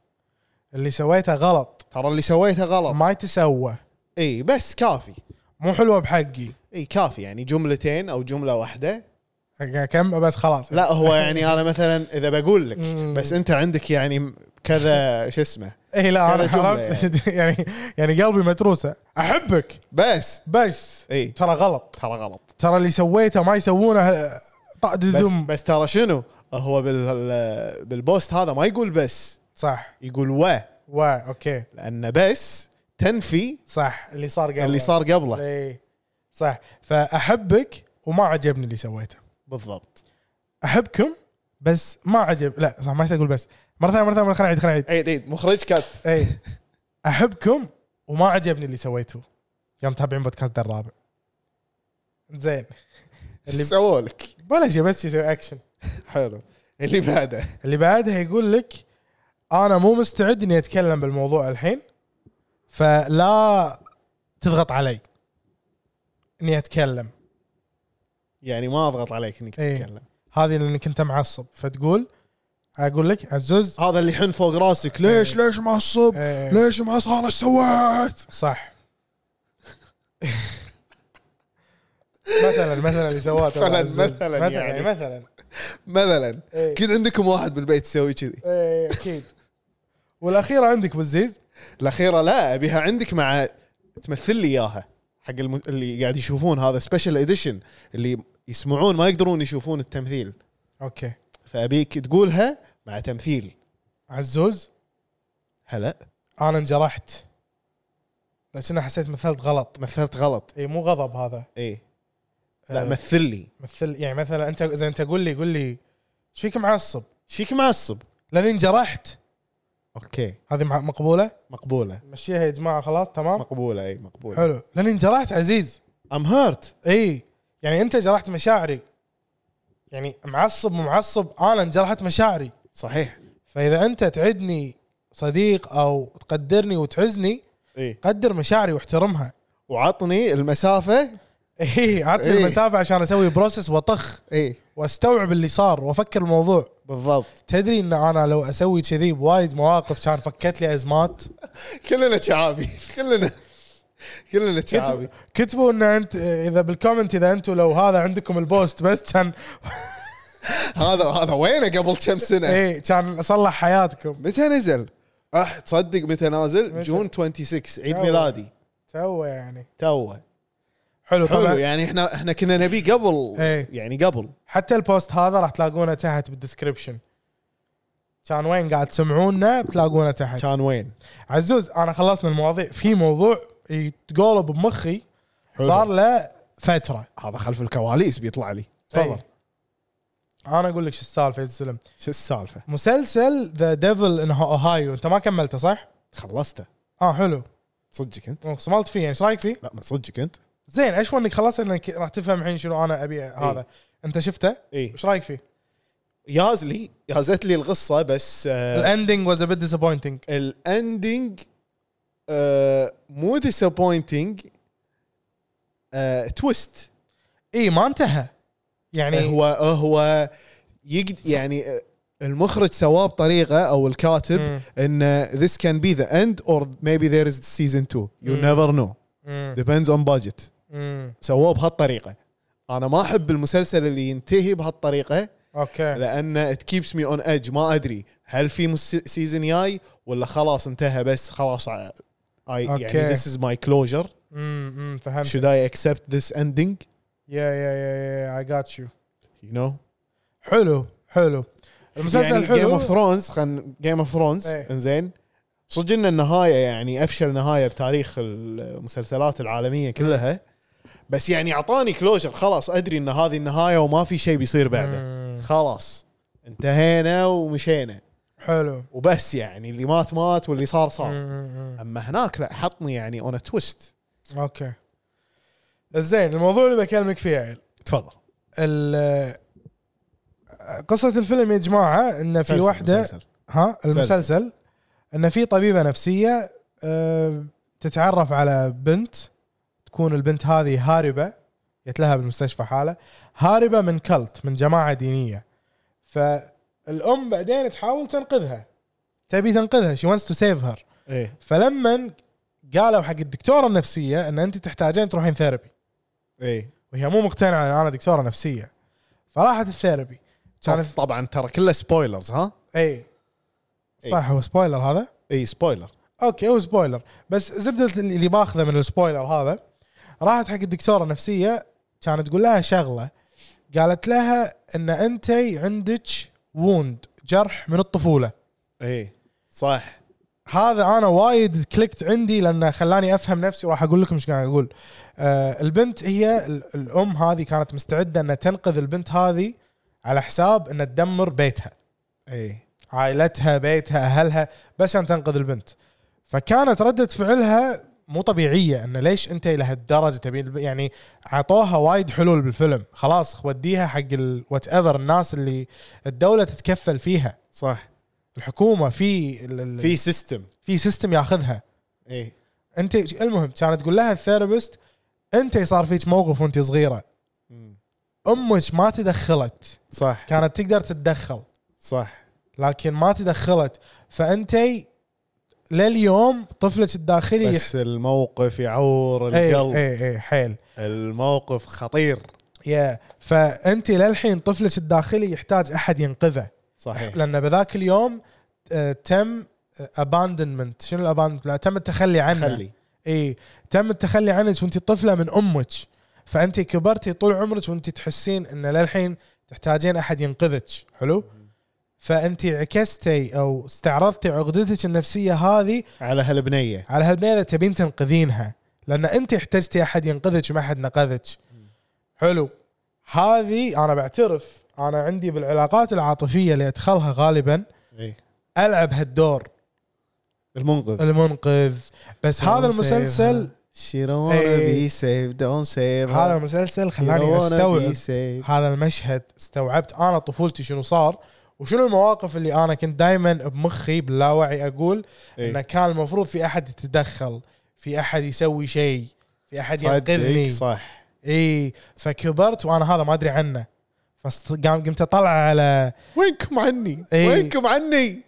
اللي سويته غلط ترى اللي سويته غلط ما يتسوى اي بس كافي مو حلوه بحقي اي كافي يعني جملتين او جمله واحده يعني كم بس خلاص لا هو يعني انا مثلا اذا بقول لك مم. بس انت عندك يعني كذا شو اسمه اي إيه، لا انا كذا جملة عرفت يعني يعني قلبي متروسه احبك بس بس اي ترى غلط ترى غلط ترى اللي سويته ما يسوونه آه، طقد بس الدم بس ترى شنو هو بال بالبوست هذا ما يقول بس صح يقول و وا اوكي لان بس تنفي صح اللي صار قبل اللي صار قبله اي صح فاحبك وما عجبني اللي سويته بالضبط احبكم بس ما عجب لا صح ما يصير اقول بس مره ثانيه مره ثانيه خلينا نعيد خلينا نعيد عيد عيد إيه، مخرج كات اي احبكم إيه. وما عجبني اللي سويته يوم تابعين بودكاست در الرابع زين اللي سووا لك ولا شيء بس يسوي اكشن حلو اللي بعده اللي بعدها يقول لك انا مو مستعد اني اتكلم بالموضوع الحين فلا تضغط علي اني اتكلم يعني ما اضغط عليك انك إيه. تتكلم هذه لانك انت معصب فتقول اقول لك عزوز هذا اللي يحن فوق راسك ليش ليش معصب إيه. ليش معصب انا إيش سويت صح مثلا مثلا اللي سواه ترى مثلاً- عزوز. مثلاً مثلا يعني. يعني مثلا مثلا إيه. اكيد عندكم واحد بالبيت يسوي كذي ايه اكيد والاخيره عندك بالزيز الاخيره لا ابيها عندك مع تمثل لي اياها حق الم... اللي قاعد يشوفون هذا سبيشل اديشن اللي يسمعون ما يقدرون يشوفون التمثيل اوكي فابيك تقولها مع تمثيل عزوز هلا انا انجرحت بس انا حسيت مثلت غلط مثلت غلط اي مو غضب هذا اي لا آه. مثل لي مثل يعني مثلا انت اذا انت قول لي قول لي ايش فيك معصب؟ شيك معصب لاني انجرحت اوكي هذه مع- مقبوله؟ مقبوله مشيها يا جماعه خلاص تمام؟ مقبوله اي مقبوله حلو لاني انجرحت عزيز ام هارت اي يعني انت جرحت مشاعري يعني معصب مو معصب انا انجرحت مشاعري صحيح فاذا انت تعدني صديق او تقدرني وتعزني اي قدر مشاعري واحترمها وعطني المسافه اي عطني إي. المسافه عشان اسوي بروسس واطخ اي واستوعب اللي صار وافكر الموضوع بالضبط تدري ان انا لو اسوي كذي بوايد مواقف كان فكت لي ازمات كلنا شعابي كلنا كلنا شعابي آه، كتبوا ان انت اذا بالكومنت اذا انتم لو هذا عندكم البوست بس كان هذا هذا وينه قبل كم سنه اي إيه، كان اصلح حياتكم متى نزل اح تصدق متى نازل متى؟ جون 26 عيد توه. ميلادي تو يعني توه حلو طبعا حلو يعني احنا احنا كنا نبي قبل إيه. يعني قبل حتى البوست هذا راح تلاقونه تحت بالدسكربشن كان وين قاعد تسمعونا بتلاقونه تحت كان وين عزوز انا خلصنا المواضيع في موضوع يتقولب بمخي حلو. صار له فتره هذا خلف الكواليس بيطلع لي تفضل إي. انا اقول لك شو السالفه يا سلم شو السالفه مسلسل ذا ديفل ان اوهايو انت ما كملته صح؟ خلصته اه حلو صدقك انت صملت فيه يعني ايش رايك فيه؟ لا ما صدقك انت زين اشوى انك خلصت انك راح تفهم الحين شنو انا ابي إيه. هذا انت شفته؟ اي ايش رايك فيه؟ ياز لي يازت لي القصه بس آه الاندنج واز ا بيت ديسابوينتنج الاندنج آه مو ديسابوينتنج آه تويست اي إيه، ما انتهى يعني يعني هو هو يقد يعني آه، المخرج سواه بطريقه او الكاتب مم. ان this can be the end or maybe there is season 2 you never know مم. depends on budget مم. سووه بهالطريقه انا ما احب المسلسل اللي ينتهي بهالطريقه اوكي لان ات كيبس مي اون ايدج ما ادري هل في مس- سيزون جاي ولا خلاص انتهى بس خلاص اي يعني أوكي. this is my closure مم. مم. فهمت should I accept this ending يا يا يا يا اي جات يو you know حلو حلو المسلسل يعني جيم حلو اوف ثرونز خن جيم اوف ثرونز إيه. انزين صدق ان النهايه يعني افشل نهايه بتاريخ المسلسلات العالميه كلها بس يعني اعطاني كلوجر خلاص ادري ان هذه النهايه وما في شيء بيصير بعده مم. خلاص انتهينا ومشينا حلو وبس يعني اللي مات مات واللي صار صار مم. مم. اما هناك لا حطني يعني اون تويست اوكي زين الموضوع اللي بكلمك فيه يا عيل تفضل ال- قصة الفيلم يا جماعة ان في واحدة ها المسلسل ان في طبيبة نفسية آه، تتعرف على بنت تكون البنت هذه هاربة جت لها بالمستشفى حالة هاربة من كلت من جماعة دينية فالأم بعدين تحاول تنقذها تبي تنقذها شي wants تو سيف هير ايه فلما قالوا حق الدكتورة النفسية ان انت تحتاجين تروحين ثيرابي ايه وهي مو مقتنعه ان انا دكتوره نفسيه فراحت الثيرابي كانت طبعا ترى كله سبويلرز ها اي صح هو سبويلر هذا اي سبويلر اوكي هو سبويلر بس زبده اللي اللي باخذه من السبويلر هذا راحت حق الدكتوره النفسيه كانت تقول لها شغله قالت لها ان انت عندك ووند جرح من الطفوله ايه صح هذا انا وايد كليكت عندي لانه خلاني افهم نفسي وراح اقول لكم ايش قاعد اقول. آه البنت هي ال- الام هذه كانت مستعده انها تنقذ البنت هذه على حساب انها تدمر بيتها، ايه عائلتها، بيتها، اهلها بس عشان تنقذ البنت. فكانت رده فعلها مو طبيعيه انه ليش انت الى هالدرجه تبي الب- يعني عطوها وايد حلول بالفيلم خلاص وديها حق الوات ايفر الناس اللي الدوله تتكفل فيها صح الحكومه في ال- ال- في إيه. سيستم في سيستم ياخذها اي انت المهم كانت تقول لها الثيرابيست انت صار فيك موقف وانت صغيره امك ما تدخلت صح كانت تقدر تتدخل صح لكن ما تدخلت فانت لليوم طفلك الداخلي بس الموقف يعور اي القلب اي اي إيه، حيل الموقف خطير يا فانت للحين طفلك الداخلي يحتاج احد ينقذه صحيح لان بذاك اليوم آه، تم اباندمنت شنو الاباندمنت تم التخلي عنه خلي اي تم التخلي عنك وانت طفله من امك فانت كبرتي طول عمرك وانت تحسين ان للحين تحتاجين احد ينقذك حلو فانت عكستي او استعرضتي عقدتك النفسيه هذه على هالبنيه على هالبنيه تبين تنقذينها لان انت احتجتي احد ينقذك وما حد نقذك حلو هذه انا بعترف انا عندي بالعلاقات العاطفيه اللي ادخلها غالبا اي العب هالدور إيه. المنقذ المنقذ بس هذا المسلسل شيرون إي. بي سيف دون سيف إيه. هذا المسلسل خلاني استوعب هذا المشهد استوعبت انا طفولتي شنو صار وشنو المواقف اللي انا كنت دائما بمخي باللاوعي اقول إيه. انه كان المفروض في احد يتدخل في احد يسوي شيء في احد صدق ينقذني صح اي فكبرت وانا هذا ما ادري عنه فقام قمت اطلع على وينكم عني إي. وينكم عني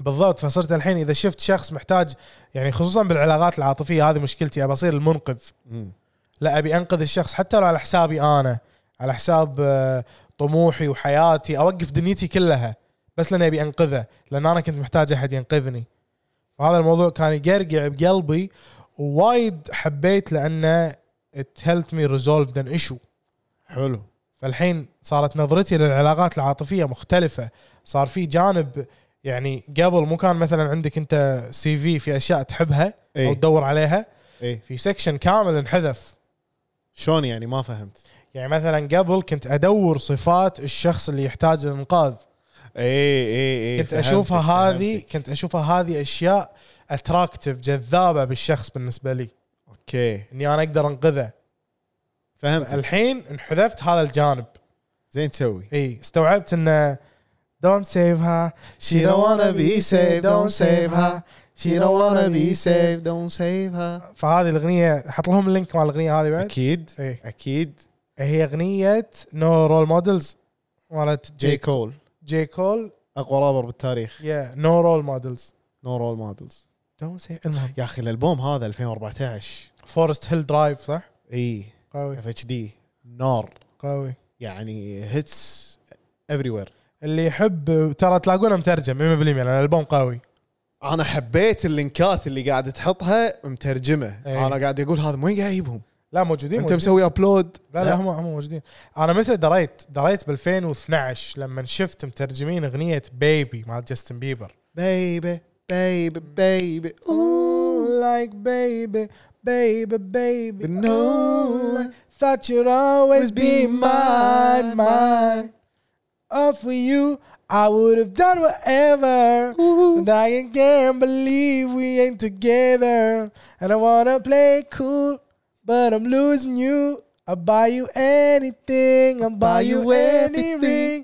بالضبط فصرت الحين اذا شفت شخص محتاج يعني خصوصا بالعلاقات العاطفيه هذه مشكلتي ابى اصير المنقذ لا ابي انقذ الشخص حتى لو على حسابي انا على حساب آه، طموحي وحياتي اوقف دنيتي كلها بس لاني ابي انقذه لان انا كنت محتاج احد ينقذني فهذا الموضوع كان يقرقع بقلبي ووايد حبيت لانه it helped me resolve an issue حلو فالحين صارت نظرتي للعلاقات العاطفيه مختلفه صار في جانب يعني قبل مو كان مثلا عندك انت سي في في اشياء تحبها او اي تدور عليها اي في سكشن كامل انحذف شلون يعني ما فهمت يعني مثلا قبل كنت ادور صفات الشخص اللي يحتاج الانقاذ اي اي اي كنت اشوفها إيه، فهمتك، هذه فهمتك. كنت اشوفها هذه اشياء اتراكتيف جذابه بالشخص بالنسبه لي اوكي اني انا اقدر انقذه فهمت الحين انحذفت هذا الجانب زين تسوي اي استوعبت انه don't save her she don't wanna be saved don't save her she don't wanna be saved don't save her فهذه الاغنيه حط لهم اللينك مال الاغنيه هذه بعد اكيد اي اكيد هي اغنيه نو رول مودلز مالت جي جي كول جي كول اقوى رابر بالتاريخ يا نو رول مودلز نو رول مودلز دونت سي المهم يا اخي الالبوم هذا 2014 فورست هيل درايف صح؟ اي قوي اف اتش دي نار قوي يعني هيتس افري وير اللي يحب ترى تلاقونه مترجم 100% لان الالبوم قوي انا حبيت اللينكات اللي قاعد تحطها مترجمه إيه. انا قاعد اقول هذا من وين قاعد يجيبهم لا موجودين انت موجودين. مسوي ابلود لا لا هم هم موجودين انا متى دريت؟ دريت ب 2012 لما شفت مترجمين اغنيه بيبي مال جاستن بيبر بيبي بيبي بيبي لايك بيبي بيبي بيبي No. thought you'd always be mine mine off with you I would have done whatever And I can't believe we ain't together. And I wanna play cool, but I'm losing you. I'll buy you anything, I'll buy, you any ring.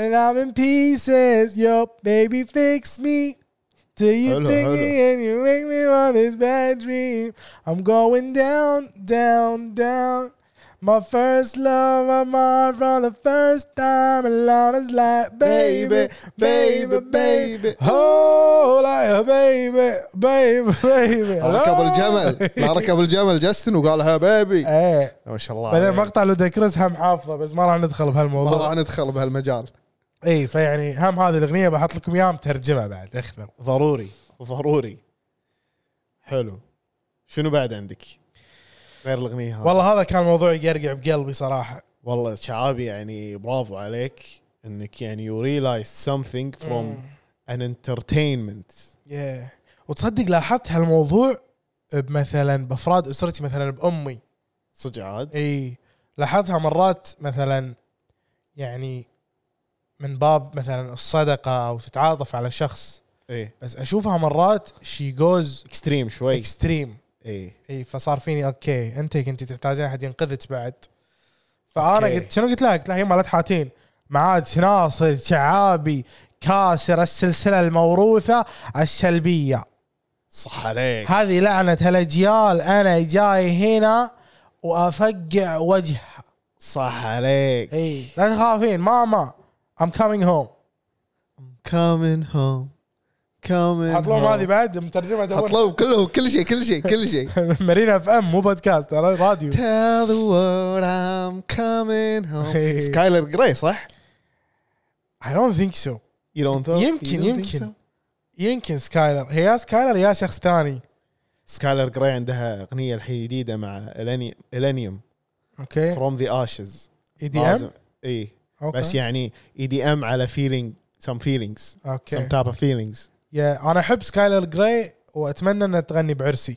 And I'm in pieces, yo, baby, fix me. Till you Hello, take hello. me and you make me want this bad dream. I'm going down, down, down. My first love, I'm on for the first time. And love is like, baby, baby, baby. Oh, like, baby, baby, baby. ركب الجمل لا ركب الجمل جاستن وقالها بيبي ايه ما شاء الله بعدين عليك. مقطع لوداكريس هم حافظه بس ما راح ندخل آه، إيه. ما بهالموضوع راح ندخل بهالمجال اي فيعني هم هذه الاغنيه بحط لكم اياها مترجمه بعد اخذوا ضروري ضروري حلو شنو بعد عندك غير الاغنيه هذه آه. والله هذا كان موضوع يقرقع بقلبي صراحه والله شعابي يعني برافو عليك انك يعني يو ريلايز something from إيه. an entertainment yeah. وتصدق لاحظت هالموضوع بمثلا بافراد اسرتي مثلا بامي صدق عاد اي لاحظتها مرات مثلا يعني من باب مثلا الصدقه او تتعاطف على شخص ايه بس اشوفها مرات شي جوز اكستريم شوي إيه. اكستريم اي اي إيه، فصار فيني اوكي انت كنت تحتاجين احد ينقذك بعد فانا أوكي. قلت شنو قلت لها؟ قلت لها هي مالت حاتين معاد ناصر شعابي كاسر السلسله الموروثه السلبيه صح عليك هذه لعنه هالاجيال انا جاي هنا وافقع وجهها صح عليك اي لا تخافين ماما ام كامينج هوم كامن هوم كامن حط لهم هذه بعد مترجمه حط دور. لهم كلهم كل شيء كل شيء كل شيء مارينا اف ام مو بودكاست ترى راديو Tell the world I'm coming home. سكايلر جراي صح؟ اي دونت ثينك سو You don't think- يمكن- you don't think يمكن. so? يمكن سكايلر هي يا سكايلر يا شخص ثاني سكايلر جراي عندها اغنيه الحين جديده مع إلاني- الانيوم اوكي فروم ذا اشز اي دي ام اي اوكي إيه. بس يعني اي دي ام على فيلينج some feelings some اوكي type of feelings يا انا احب سكايلر جراي واتمنى انها تغني بعرسي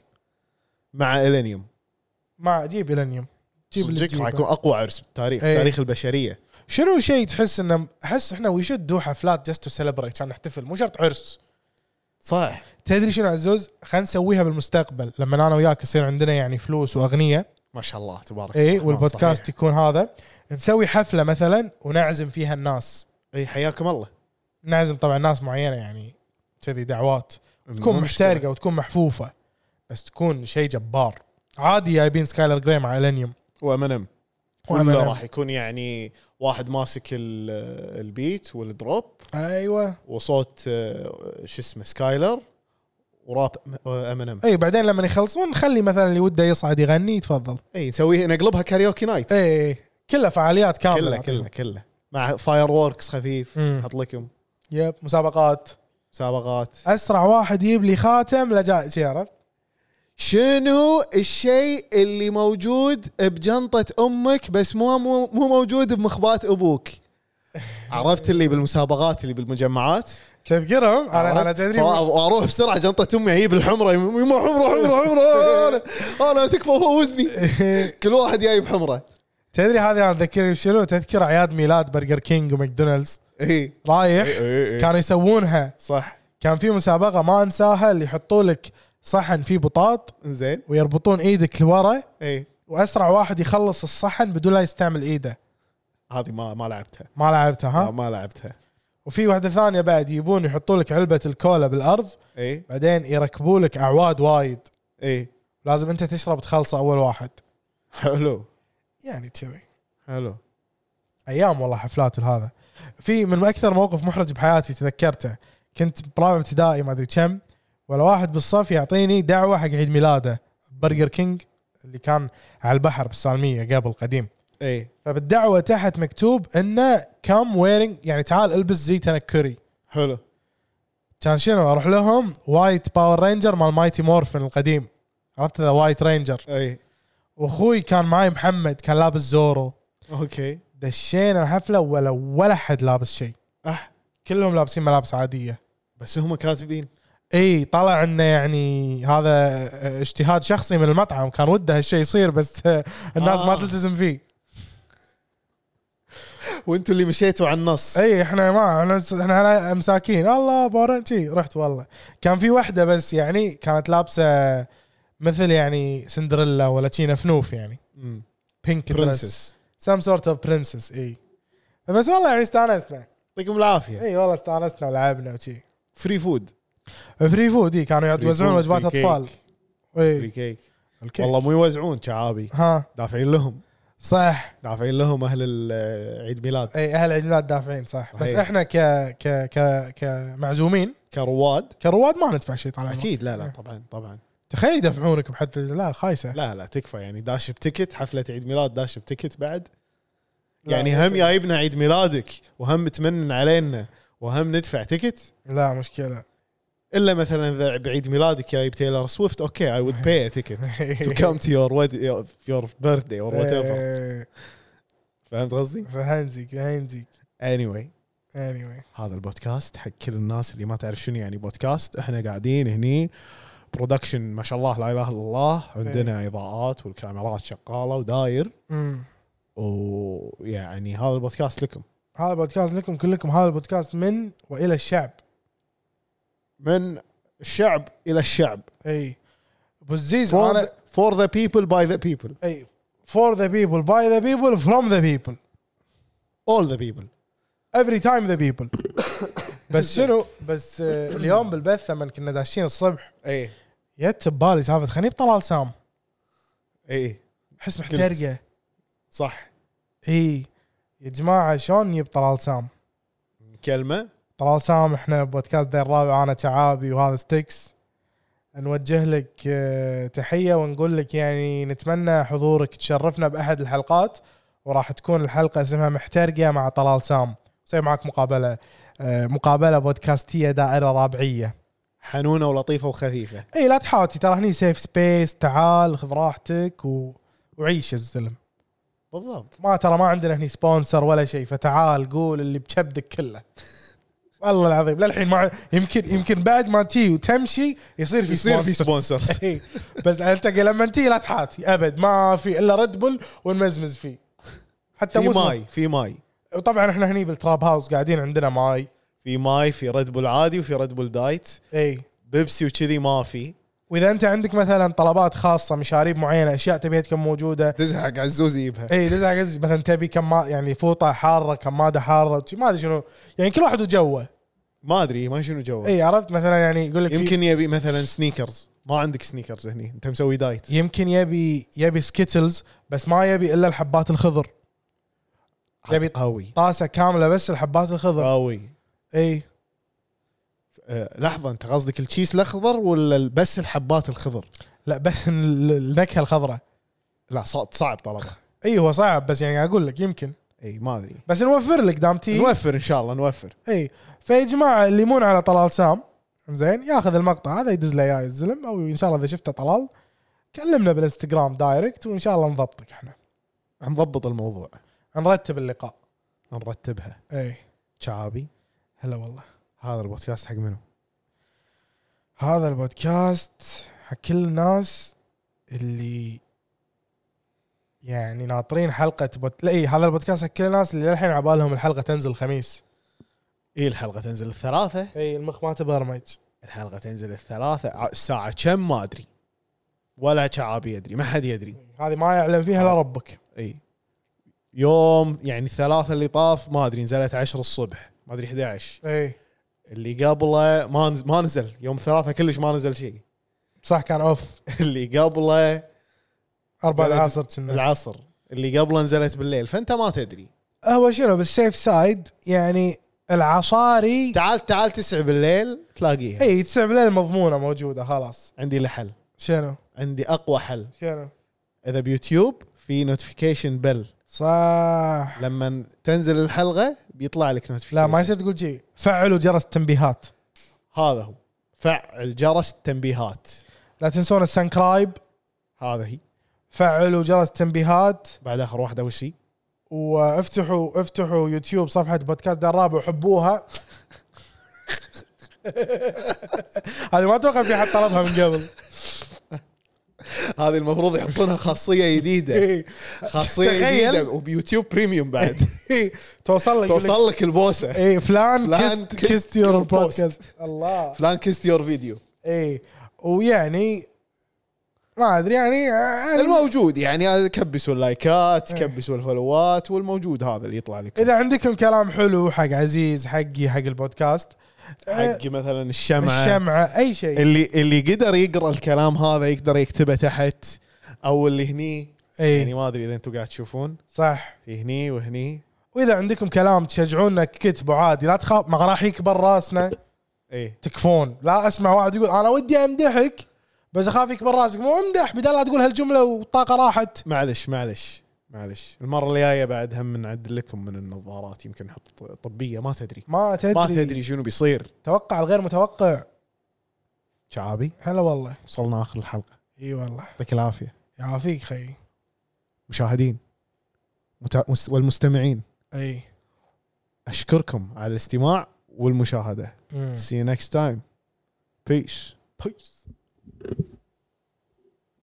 مع الانيوم مع جيب الانيوم جيب اللي صدق راح يكون تجيبه. اقوى عرس بالتاريخ إيه. تاريخ البشريه شنو شيء تحس انه احس احنا وي شود دو حفلات جاست تو سيلبريت عشان نحتفل مو شرط عرس صح تدري شنو عزوز خلينا نسويها بالمستقبل لما انا وياك يصير عندنا يعني فلوس واغنيه ما شاء الله تبارك اي الرحمن، إيه، والبودكاست آه، صحيح. يكون هذا نسوي حفله مثلا ونعزم فيها الناس اي إيه، حياكم الله نعزم طبعا ناس معينه يعني كذي دعوات تكون مو مشكلة. محترقه وتكون محفوفه بس تكون شيء جبار عادي جايبين سكايلر جراي مع الانيوم وامنم وأمنم. ولا راح يكون يعني واحد ماسك ال- البيت والدروب ايوه وصوت آه، شو اسمه سكايلر وراب امينيم اي بعدين لما يخلصون نخلي مثلا اللي وده يصعد يغني يتفضل اي نسويها إيه، نقلبها كاريوكي نايت اي اي كلها فعاليات كامله كله كله كله مع فاير ووركس خفيف مم. حط لكم يب مسابقات مسابقات اسرع واحد يجيب لي خاتم لا جائزه شي عرفت شنو الشيء اللي موجود بجنطة أمك بس مو مو مو موجود بمخبات أبوك؟ عرفت اللي بالمسابقات اللي بالمجمعات؟ تذكرهم انا انا عرفت؟ تدري فا- واروح بسرعه جنطه امي اجيب الحمره يم- يما حمره حمره حمره انا انا تكفى فوزني كل واحد جايب حمره تدري هذه انا تذكرني بشنو تذكر اعياد ميلاد برجر كينج وماكدونالدز اي رايح إيه، كانوا يسوونها صح كان في مسابقه ما انساها اللي يحطوا لك صحن فيه بطاط زين ويربطون ايدك لورا اي واسرع واحد يخلص الصحن بدون لا يستعمل ايده هذه ما ما لعبتها ما لعبتها ما- ها ما لعبتها وفي واحده ثانيه بعد يبون يحطوا لك علبه الكولا بالارض اي بعدين يركبوا لك اعواد وايد اي لازم انت تشرب تخلصه اول واحد حلو يعني كذي حلو ايام والله حفلات هذا في من اكثر موقف محرج بحياتي تذكرته كنت برابع ابتدائي ما ادري كم ولا واحد بالصف يعطيني دعوه حق عيد ميلاده برجر كينج اللي كان على البحر بالسالميه قبل قديم اي فبالدعوه تحت مكتوب انه كم ويرنج يعني تعال البس زي تنكري حلو كان شنو اروح لهم وايت باور رينجر مال مايتي مورفن القديم عرفت ذا وايت رينجر اي واخوي كان معي محمد كان لابس زورو اوكي دشينا حفله ولا ولا حد لابس شيء أح. كلهم لابسين ملابس عاديه بس هم كاتبين اي طلع انه يعني هذا اجتهاد شخصي من المطعم كان وده هالشيء يصير بس آه، الناس آه. ما آه. تلتزم فيه وانتم اللي مشيتوا على النص اي احنا ما احنا احنا على مساكين الله بورنتي رحت والله كان في وحده بس يعني كانت لابسه مثل يعني سندريلا ولا تشينا فنوف يعني مم. بينك برنسس سام سورت اوف برنسس اي بس والله يعني استانسنا يعطيكم العافيه اي والله استانسنا ولعبنا وشي فري فود فري فود اي كانوا Free يوزعون food, وجبات free cake. اطفال فري اي كيك الكيك. والله مو يوزعون شعابي ها دافعين لهم صح دافعين لهم اهل ال- عيد ميلاد اي اهل عيد ميلاد دافعين صح بس صحيح. احنا ك ك ك كمعزومين كرواد كرواد ما إيه. ندفع شيء طال عمرك اكيد لا لا طبعا طبعا تخيل يدفعونك بحد لا خايسه لا لا تكفى يعني داش بتكت حفله عيد ميلاد داش بتكت بعد لا، إيه. يعني مشكلة. هم جايبنا عيد ميلادك وهم تمنن علينا وهم ندفع تكت لا مشكله الا مثلا اذا بعيد ميلادك جايب تايلر سويفت اوكي اي وود باي تكت to come to your wed- your- your birthday or whatever إيه، فهمت قصدي؟ فهنزق فهنزق anyway anyway هذا البودكاست حق كل الناس اللي ما تعرف شنو يعني بودكاست احنا قاعدين هني برودكشن ما شاء الله لا اله الا الله إيه. عندنا اضاءات والكاميرات شغاله وداير أمم. ويعني هذا البودكاست لكم هذا بودكاست لكم كلكم هذا البودكاست من والى الشعب من الشعب الى الشعب اي ابو الزيز انا فور ذا بيبل باي ذا بيبل اي فور ذا بيبل باي ذا بيبل فروم ذا بيبل اول ذا بيبل افري تايم ذا بيبل بس شنو بس آه، اليوم بالبث لما كنا داشين الصبح اي جت ببالي سالفه خليني بطلال سام اي احس محترقه إيه، صح اي يا جماعه شلون نجيب طلال سام؟ كلمه طلال سام احنا بودكاست دير الرابع انا تعابي وهذا ستيكس نوجه لك آه، تحيه ونقول لك يعني نتمنى حضورك تشرفنا باحد الحلقات وراح تكون الحلقه اسمها محترقه مع طلال سام سوي معك مقابله آه، مقابله بودكاستيه دائره رابعيه حنونه ولطيفه وخفيفه اي لا تحاتي ترى هني سيف سبيس تعال خذ راحتك و... وعيش يا الزلم بالضبط ما ترى ما عندنا هني سبونسر ولا شيء فتعال قول اللي بكبدك كله والله العظيم للحين ما يمكن يمكن بعد ما تي وتمشي يصير في يصير في sponsors. إيه. إي. بس انت لما تي لا تحاتي ابد ما في الا ريد بول ونمزمز فيه حتى في مو اسمه- ماي في ماي وطبعا احنا هني بالتراب هاوس قاعدين عندنا ماي في ماي في ريد بول عادي وفي ريد بول دايت اي بيبسي وكذي ما في واذا انت عندك مثلا طلبات خاصه مشاريب معينه اشياء تبيها تكون موجوده تزهق عزوز يجيبها اي لازم أقز- مثلا تبي كم يعني فوطه حاره كماده حاره وشي، ما ادري شنو يعني كل واحد وجوه ما ادري ما شنو جوه اي عرفت مثلا يعني يقول لك في- يمكن يبي مثلا سنيكرز ما عندك سنيكرز هني انت مسوي دايت يمكن يبي يبي سكيتلز بس ما يبي الا الحبات الخضر يبي- قوي طاسه كامله بس الحبات الخضر إيه. قوي اي آه، لحظه انت قصدك التشيس الاخضر ولا ال- بس الحبات الخضر؟ لا بس ال- النكهه الخضراء لا ص- صعب طلبه اي هو صعب بس يعني اقول لك يمكن اي ما ادري بس نوفر لك دامتي نوفر ان شاء الله نوفر اي فيا جماعه اللي يمون على طلال سام زين ياخذ المقطع هذا يدز له اياه الزلم او ان شاء الله اذا شفته طلال كلمنا بالانستغرام دايركت وان شاء الله نضبطك احنا نضبط الموضوع نرتب اللقاء نرتبها اي شعابي إيه، هلا والله هذا البودكاست حق منو؟ هذا البودكاست حق كل الناس اللي يعني ناطرين حلقه بوت... لا اي هذا البودكاست حق كل الناس اللي للحين عبالهم الحلقه تنزل الخميس اي الحلقه تنزل الثلاثة اي المخ ما تبرمج الحلقه تنزل الثلاثة ع- الساعه كم ما ادري ولا شعابي يدري ما حد يدري هذه ما يعلم فيها الا ربك اي يوم يعني الثلاثة اللي طاف ما ادري نزلت 10 الصبح ما ادري 11 اي اللي قبله ما نز- ما نزل يوم ثلاثة كلش ما نزل شيء صح كان اوف اللي قبله أربع زين. العصر كنا العصر اللي قبله نزلت بالليل فانت ما تدري هو شنو بالسيف سايد يعني العصاري تعال تعال تسع بالليل تلاقيها اي تسع بالليل مضمونه موجوده خلاص عندي لحل شنو عندي اقوى حل شنو اذا بيوتيوب في نوتيفيكيشن بل صح لما تنزل الحلقه بيطلع لك نوتيفيكيشن لا ما يصير تقول شيء فعلوا جرس التنبيهات هذا هو فعل جرس التنبيهات لا تنسون السنكرايب هذا هي فعلوا جرس التنبيهات بعد اخر واحده وش هي؟ وافتحوا افتحوا يوتيوب صفحه بودكاست دار الرابع وحبوها هذه ما اتوقع في حد طلبها من قبل هذه المفروض يحطونها خاصيه جديده خاصيه تخيل. جديده وبيوتيوب بريميوم بعد توصل لك توصل توصل لك البوسه اي فلان فلان كيست kissed كيست يور your post. بودكاست الله فلان كيست يور فيديو اي ويعني ما ادري يعني يعني الموجود يعني هذا كبسوا اللايكات كبسوا الفولوات والموجود هذا اللي يطلع لك اذا عندكم كلام حلو حق عزيز حقي حق البودكاست آه، حق مثلا الشمعه الشمعه اي شيء اللي اللي قدر يقرا الكلام هذا يقدر يكتبه تحت او اللي هني يعني اي ما ادري اذا انتم قاعد تشوفون إيه، صح في هني وهني واذا عندكم كلام تشجعونا كتبوا عادي لا تخاف ما راح يكبر راسنا ايه تكفون لا اسمع واحد يقول انا ودي امدحك بس اخاف يكبر راسك مو امدح بدال لا تقول هالجمله والطاقه راحت معلش معلش معلش المره اللي جايه بعد هم نعدل لكم من النظارات يمكن نحط طبيه ما تدري ما تدري ما تدري شنو بيصير توقع الغير متوقع شعابي هلا والله وصلنا اخر الحلقه اي والله يعطيك العافيه يعافيك خي مشاهدين متع- مس- والمستمعين اي اشكركم على الاستماع والمشاهده مم. See you next time. Peace. Peace.